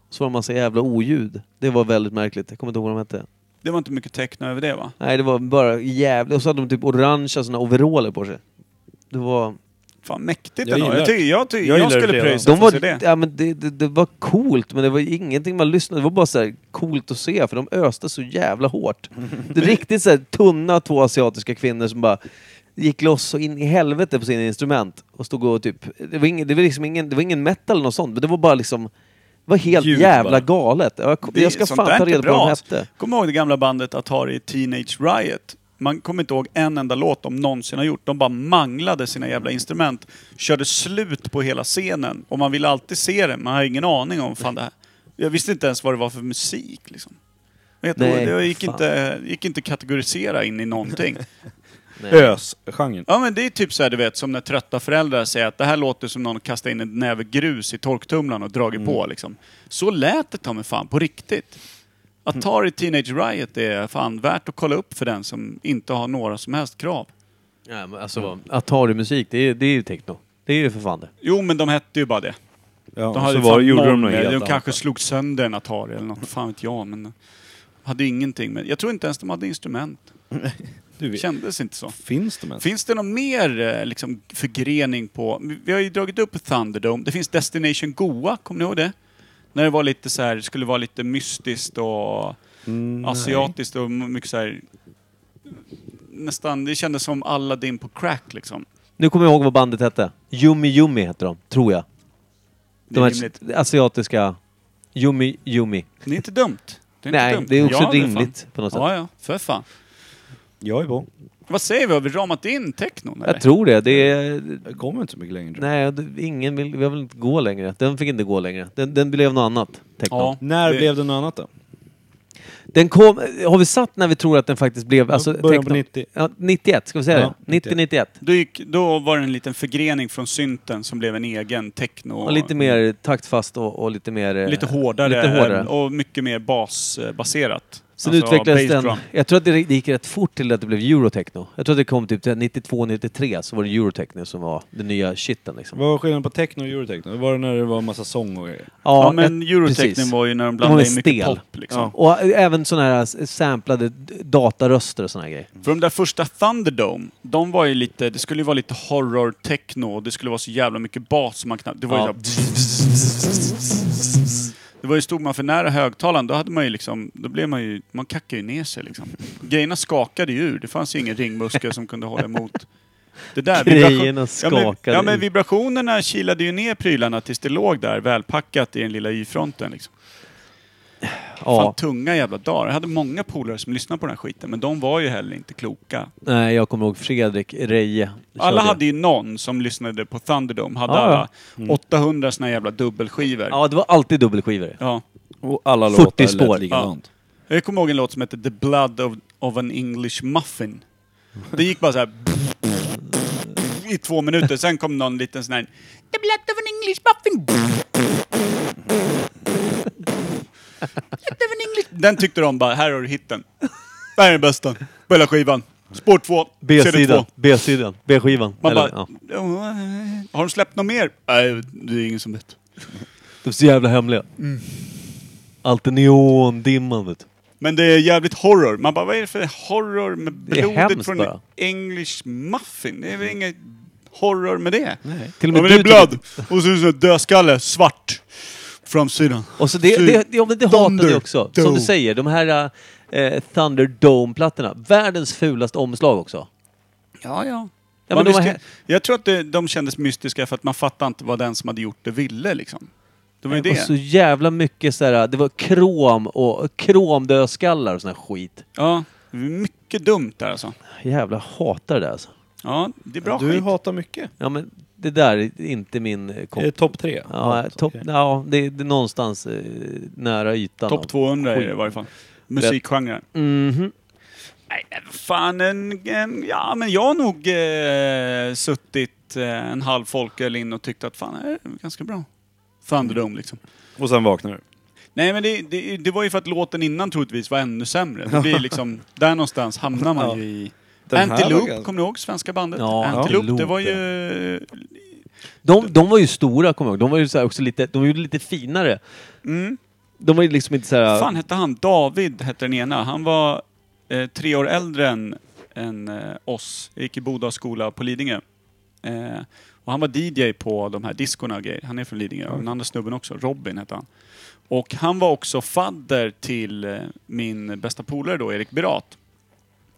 A: Och så var det en massa jävla oljud. Det var väldigt märkligt. Jag kommer inte ihåg vad de hette.
B: Det var inte mycket techno över det va?
A: Nej, det var bara jävligt. Och så hade de typ orangea såna overaller på sig. Det var...
B: Fan mäktigt
C: Jag
B: jag ändå.
C: gillar
B: Jag, tycker, jag, tycker,
C: jag
B: jag,
C: gillar det
B: skulle
C: redan.
B: pröjsa
A: De
B: för att se
A: var,
B: det.
A: ja, men det, det, det var coolt, men det var ingenting man lyssnade Det var bara så här coolt att se, för de öste så jävla
B: (laughs)
A: hårt. Det är riktigt så här tunna två asiatiska kvinnor som bara gick loss så in i helvete på sina instrument. Och stod och typ... Det var ingen, det var liksom ingen, det var ingen metal eller något sånt, men det var bara liksom... Det var helt
C: Ljud
A: jävla
C: bara.
A: galet. Jag,
B: Det-
A: jag ska
B: sånt
A: fan
B: där är
A: ta
B: inte
A: reda på vad
B: bra,
A: de
B: alltså.
A: hette.
B: Kommer ihåg det gamla bandet Atari Teenage Riot? Man kommer inte ihåg en enda låt de någonsin har gjort. De bara manglade sina jävla instrument. Körde slut på hela scenen. Och man ville alltid se det. Man har ingen aning om fan det här. Jag visste inte ens vad det var för musik liksom. Jag vet
A: Nej,
B: inte, det gick
A: fan.
B: inte, gick inte kategorisera in i någonting.
A: Äh.
C: Ös-genren.
B: Ja men det är typ så här, du vet, som när trötta föräldrar säger att det här låter som någon kastar in en näve grus i torktumlaren och dragit
C: Mm.
B: på liksom. Så lät det ta mig fan på riktigt. Atari Teenage Riot är fan värt att kolla upp för den som inte har några som helst krav.
A: Ja, men alltså, Atari-musik, det är, det är ju techno. Det är ju för fan det.
B: Jo men de hette ju bara det.
C: Ja,
B: De hade
C: så var,
B: fan
C: gjorde de något
B: noll-
C: helt
B: De
C: annat.
B: kanske slog sönder en Atari eller något, fan vet jag. Men hade ju ingenting med... Jag tror inte ens de hade instrument.
C: Du vet.
B: Kändes inte så.
C: Finns de ens?
B: Finns det någon mer eh, liksom, förgrening på... Vi har ju dragit upp Thunderdome. Det finns Destination Goa, kommer ni ihåg det? När det var lite så här, skulle vara lite mystiskt och
C: Mm,
B: asiatiskt och mycket så här... Nästan, det kändes som Aladdin på crack liksom.
A: Nu kommer jag ihåg vad bandet hette. Yummy Yummy hette de, tror jag.
B: Det
A: De
B: är
A: här
B: rimligt.
A: asiatiska... Yumi, yumi.
B: Det är inte dumt. Det är
A: Nej,
B: inte dumt.
A: det är också
B: Ja, för
A: rimligt
B: fan.
A: på något sätt.
B: Ja, ja. För fan.
C: Jag är på.
B: Vad säger vi? Har vi ramat in technon? eller?
A: Jag tror det. det är,
C: Jag kommer inte så mycket längre tror jag.
A: nej, det- ingen vill, vi vill inte gå längre. Den fick inte gå längre. Den, den blev något annat. Techno.
B: Ja.
C: När
B: Det-
C: blev det något annat då?
A: Den kom, har vi satt när vi tror att den faktiskt blev... Alltså,
C: början på
A: techno-
C: 90.
A: Ja, 91, ska vi säga
C: Ja,
A: det? 90-91.
B: Då, gick, då var det en liten förgrening från synten som blev en egen techno.
A: Och lite mer taktfast och, och lite mer... eh,
B: lite hårdare,
A: Lite hårdare.
B: och mycket mer basbaserat. Alltså
A: Sen utvecklades
B: bass
A: den...
B: drum.
A: Jag tror att det, det gick rätt fort till att det blev eurotechno. Jag tror att det kom typ till 92-93 så var det eurotechno som var den nya shiten liksom.
C: Vad var skillnaden på techno och eurotechno? Var det när det var en massa sång och grejer?
B: Ja,
A: jag-
B: men Eurotechno
A: precis.
B: var ju när de
A: var
B: blandade
A: väl
B: in mycket
A: stel.
B: pop liksom.
A: Och även sådana här s- samplade d- dataröster och sådana grejer.
B: För de där första Thunderdome, de var ju lite, det skulle ju vara lite horror-techno och det skulle vara så jävla mycket bas som man knappt... Det var ju
A: Ja.
B: så- Det var ju, stod man för nära högtalaren, då hade man ju liksom, då blev man ju, man kackade ju ner sig liksom. Grejerna skakade ju ur, det fanns ju ingen ringmuskel som kunde hålla emot.
A: (laughs)
B: Det där,
A: Grejerna
B: vibration- ja, men,
A: skakade
B: ja men
A: ur.
B: vibrationerna kilade ju ner prylarna tills det låg där välpackat i den lilla Y-fronten liksom. Fan
A: Ja.
B: tunga jävla dagar. Jag hade många polare som lyssnade på den här skiten, men de var ju heller inte kloka.
A: Nej, jag kommer ihåg Fredrik Reje.
B: Alla
A: körde.
B: hade ju någon som lyssnade på Thunderdome, hade
A: Ja, ja.
B: alla 800 såna jävla dubbelskivor. Ja.
A: Ja, det var alltid dubbelskivor.
C: Och alla
A: 40 spår.
C: likadant.
B: Jag kommer ihåg en låt som hette The Blood of, of an English Muffin. Det gick bara så här i två minuter, sen kom någon liten sån här The Blood of an English Muffin. Blood of an English... Den tyckte de bara, här har du hitten. Det här är den bästa. På hela skivan. Spår 2, CD2.
A: B-sidan, B-sidan, B-skivan.
B: Man
A: Eller,
B: bara,
A: ja.
B: "Åh, har de släppt något mer? Nej, det är ingen som vet.
A: De är så jävla hemliga.
B: Mm.
A: Alltid neondimman vet du.
B: Men det är jävligt horror. Man bara, vad är det för horror med
A: Det är
B: blodet
A: hemskt
B: från
A: bara.
B: English muffin? Det är väl inget horror med det? Nej.
A: Till
B: Ja,
A: och med
B: men det är
A: du
B: blod. Och så är det en dödskalle, svart. Framsidan.
A: Och så det, det, ja, men det hatade
B: Thunder
A: jag också. Som
B: Dome.
A: du säger, de här eh, Thunderdome-plattorna. Världens fulaste omslag också.
B: Ja, ja.
A: Ja,
B: Man
A: men de var
B: visste-
A: he-
B: jag tror att det, de kändes mystiska för att man fattade inte vad den som hade gjort det ville liksom. Det var ju
A: Och
B: det.
A: så jävla mycket så här, det var krom och kromdödskallar och sån här skit.
B: Ja, det var mycket dumt där alltså.
A: Jävla hatar det där alltså.
B: Ja, det är bra
C: Du
B: skit.
C: hatar mycket.
A: Ja men det där är inte min eh,
C: Är det
A: kompis.
C: topp tre?
A: Ja,
C: Hat,
A: topp,
C: okej.
A: ja det, det är någonstans eh, nära ytan. av-
B: Topp 200 är det i
A: skit.
B: varje fall. Musikgenren.
A: Mhm.
B: Nej, men fan en, en, Ja, men jag har nog eh, suttit eh, en halv folköl in och tyckt att fan, det här är ganska bra. Thunderdome liksom.
C: Och sen vaknar du.
B: Nej, men det, det, det var ju för att låten innan troligtvis var ännu sämre. Det
C: (laughs)
B: blir liksom, där någonstans hamnar man ju i...
C: Den här var
B: Antiloop,
C: ganska-
B: kommer ni ihåg svenska bandet?
A: Ja,
B: Antiloop, det
A: Antiloop,
B: var ju...
A: De, de var ju stora kommer jag ihåg. De var ju så här också lite, de var ju lite finare.
B: Mm.
A: De var ju liksom inte så här...
B: Vad fan hette han? David hette den ena. Han var eh, tre år äldre än, än eh, oss. Jag gick i Bodals skola på Lidingö. Eh, och han var DJ på de här diskorna och grejer. Han är från Lidingö. Och Den andra snubben också, Robin hette han. Och han var också fadder till eh, min bästa polare då, Erik Berat.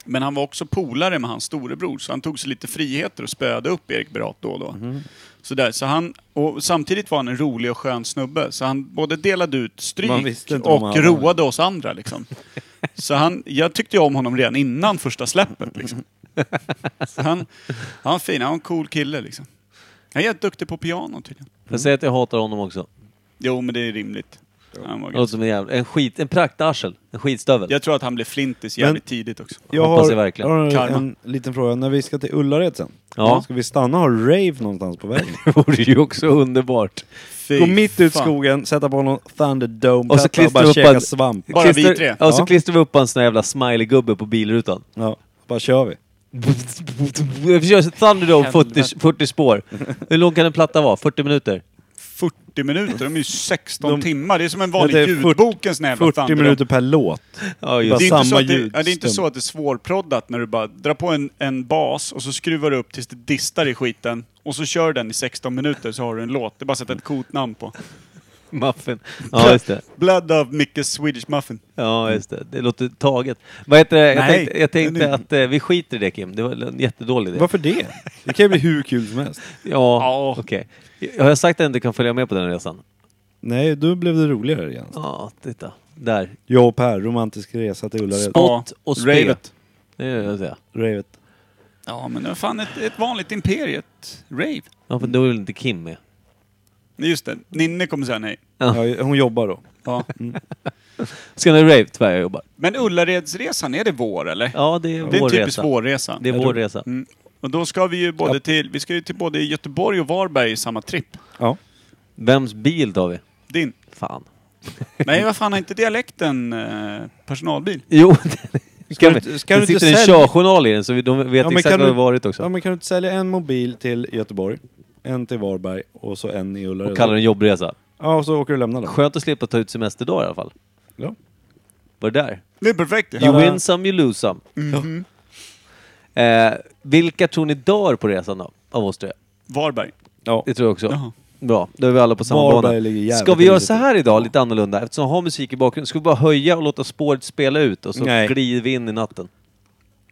B: Men han var också polare med hans storebror, så han tog sig lite friheter och spöade upp Erik Berat då och då.
C: Mm.
B: Så där, så han, och samtidigt var han en rolig och skön snubbe, så han både delade ut
C: Man
B: stryk
C: visste inte om
B: och
C: han-
B: roade oss andra. Liksom. Så han, jag tyckte ju om honom redan innan första släppet.
C: (laughs)
B: Liksom. Så han, han var fin, han var en cool kille liksom. Han är jätteduktig på piano tydligen.
A: Jag säger att jag hatar honom också.
B: Jo, men det är rimligt. Han var
A: Han låter
B: ganska-
A: som en jävla... En skit... En praktarsel. En skitstövel.
B: jag tror att han blev flintis
C: Men-
B: jävligt tidigt också.
C: Jag
A: Hoppas
C: har,
A: det verkligen.
C: har en,
B: Karma.
C: en liten fråga. När vi ska till Ullared sen,
A: Ja.
C: ska vi stanna och ha rave någonstans på vägen?
A: (laughs) Det vore ju också underbart.
B: Fy
C: Gå mitt ut i
B: fan.
C: skogen, sätta på någon Thunderdome
A: Och så
C: platta
A: klistra
C: och bara
A: upp
C: käka
A: en-
C: svamp.
B: Bara vi tre.
A: Ja, och så
C: Ja.
A: klistrar vi upp en sån här jävla smiley-gubbe på bilrutan.
C: Ja, bara kör vi.
A: Vi kör Thunderdome 40, 40 spår. Hur lång kan en platta vara? 40 minuter?
B: 40 minuter, de är ju 16
C: De-
B: timmar. Det är som en vanlig
C: Ja, det är 40
B: ljudbok, en sån här jävla
C: 40
B: Thunderdome.
C: minuter per låt.
A: Ja,
C: just
B: Det
A: just
B: är, inte så
C: Samma
B: att det,
C: ljud-
B: ja, det är inte
C: stund.
B: så att det är svårproddat när du bara drar på en, en bas och så skruvar du upp tills det distar i skiten och så kör den i 16 minuter så har du en låt. Det är bara att sätta ett coolt namn på.
A: Muffin. Ja, just det.
B: Blood of Micke's Swedish Muffin.
A: Ja, just det. Det låter taget. Vad heter det? Jag
B: Nej,
A: tänkte, jag tänkte
B: den är-
A: att eh, vi skiter i det Kim. Det var en jättedålig idé.
C: Varför det? Det kan ju bli hur kul som helst.
A: Ja,
B: Ja.
A: okej. Har jag sagt att jag inte kan följa med på den resan?
C: Nej, då blev det roligare igen.
A: Ja, titta. Där.
C: Jag och Per, romantisk resa till Ullared.
A: Spot och spe.
B: Ravet.
A: Det är det jag säger.
C: Ravet.
B: Ja, men det var fan ett, ett vanligt imperiet. Rave.
A: Ja, för då är väl inte Kim med?
B: Nej, Just det, Ninne kommer säga nej.
C: Ja, hon jobbar då.
B: Ja.
A: Ska ni rave? Tyvärr, jag jobbar.
B: Men Ullaredsresan, är det vår eller?
A: Ja, det är
B: det är en
A: vår
B: typisk
A: resa.
B: vårresa.
A: Det är vår resa.
B: Mm. Och då ska vi ju både till, vi ska ju till både Göteborg och Varberg i samma tripp.
C: Ja.
A: Vems bil tar vi?
B: Din.
A: Fan.
B: Nej, vad fan har inte dialekten eh, personalbil?
A: (laughs) Jo, ska
C: du
A: vi,
C: inte- ska
A: det
C: du inte
A: sitter en
C: sälja-
A: körjournal i den så vi- de vet
C: Ja, men
A: exakt
C: kan
A: var vi
C: du-
A: varit också.
C: ja, men kan du inte sälja en mobil till Göteborg, en till Varberg och så en i Ullared?
A: Och kallar det en jobbresa.
C: Ja, och så åker du och lämnar den.
A: Skönt att slippa ta ut semesterdagar i alla fall.
C: Ja.
A: Var det där?
B: Det är perfekt ju.
A: You win some, you lose some.
C: Mm-hmm.
A: Eh, vilka tror ni dör på resan då? Av oss tre?
B: Varberg.
C: Ja.
A: Det tror jag också.
B: Jaha.
A: Bra, då är vi alla på samma
C: Varberg
A: bana.
C: ligger jävligt
A: Ska vi göra
C: risigt
A: så här idag, lite annorlunda? Eftersom jag har musik i bakgrunden, ska vi bara höja och låta spåret spela ut och så
C: Nej.
A: glider vi in i natten?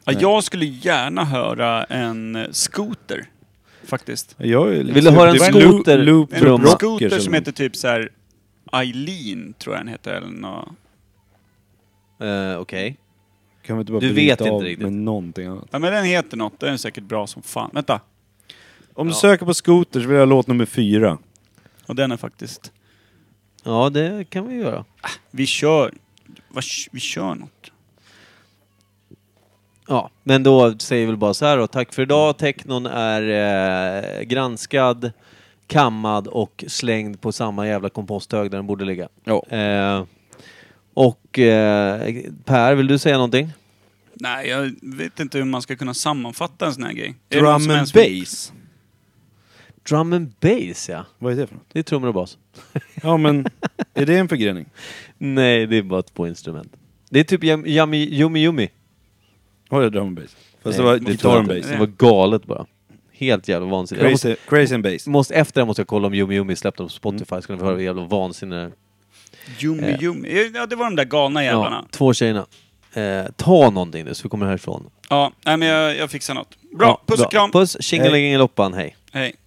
B: Ja, jag skulle gärna höra en eh, skoter. Faktiskt.
C: Jag är lite
A: Vill du höra en
C: sugen. Det var
A: skoter-
C: loo- loop
B: En
A: Trumma.
C: rockers
B: skoter
C: eller
B: som
C: något.
B: heter typ så här Eileen, tror jag den heter. Eller nå.
A: Eh, Okej.
C: Kan vi inte bara
A: Du
C: du
A: vet
C: vet
A: inte
C: av
A: riktigt.
C: med någonting annat?
B: Ja, men den heter något. Den är säkert bra som fan. Vänta.
C: Om du söker på skoter så vill jag ha låt nummer fyra.
B: Och den är faktiskt...
A: Ja, det kan vi göra.
B: Vi kör... Vad, vi kör något.
A: Ja, men då säger vi väl bara så här då. Tack för idag. Teknon är eh, granskad, kammad och slängd på samma jävla komposthög där den borde ligga.
C: Ja.
A: Eh, och eh, Per, vill du säga någonting?
B: Nej, jag vet inte hur man ska kunna sammanfatta en sån här grej. Är det någon
C: Drum
B: som
C: and
B: ens vill-
C: bass.
A: Drum and bass, ja.
C: Vad är det för något?
A: Det är trummor och bas. (laughs)
C: Ja men, är det en förgrening?
A: Nej, det är bara två instrument. Det är typ yum- yummy, yummy, yummy.
C: Har jag drum and bass? Fast
A: Nej,
C: det var
A: tror jag
C: guitar and
A: inte.
C: bass.
A: Det var galet bara. Helt jävla vansinnigt. Jag måste,
C: Crazy, crazy and bass.
A: måste, efter det måste jag kolla om Yummy Yummy släppte dem på Spotify, så kan vi höra hur jävla vansinnig det är.
B: Yummy, yummy. Ja, det var de där galna
A: Ja,
B: jävlarna. Ja,
A: två tjejerna. Eh, ta någonting nu så vi kommer härifrån.
B: nej, men jag, jag fixar något. Bra, puss och kram.
A: Puss, tjingelingeloppan, hej.
B: Hej.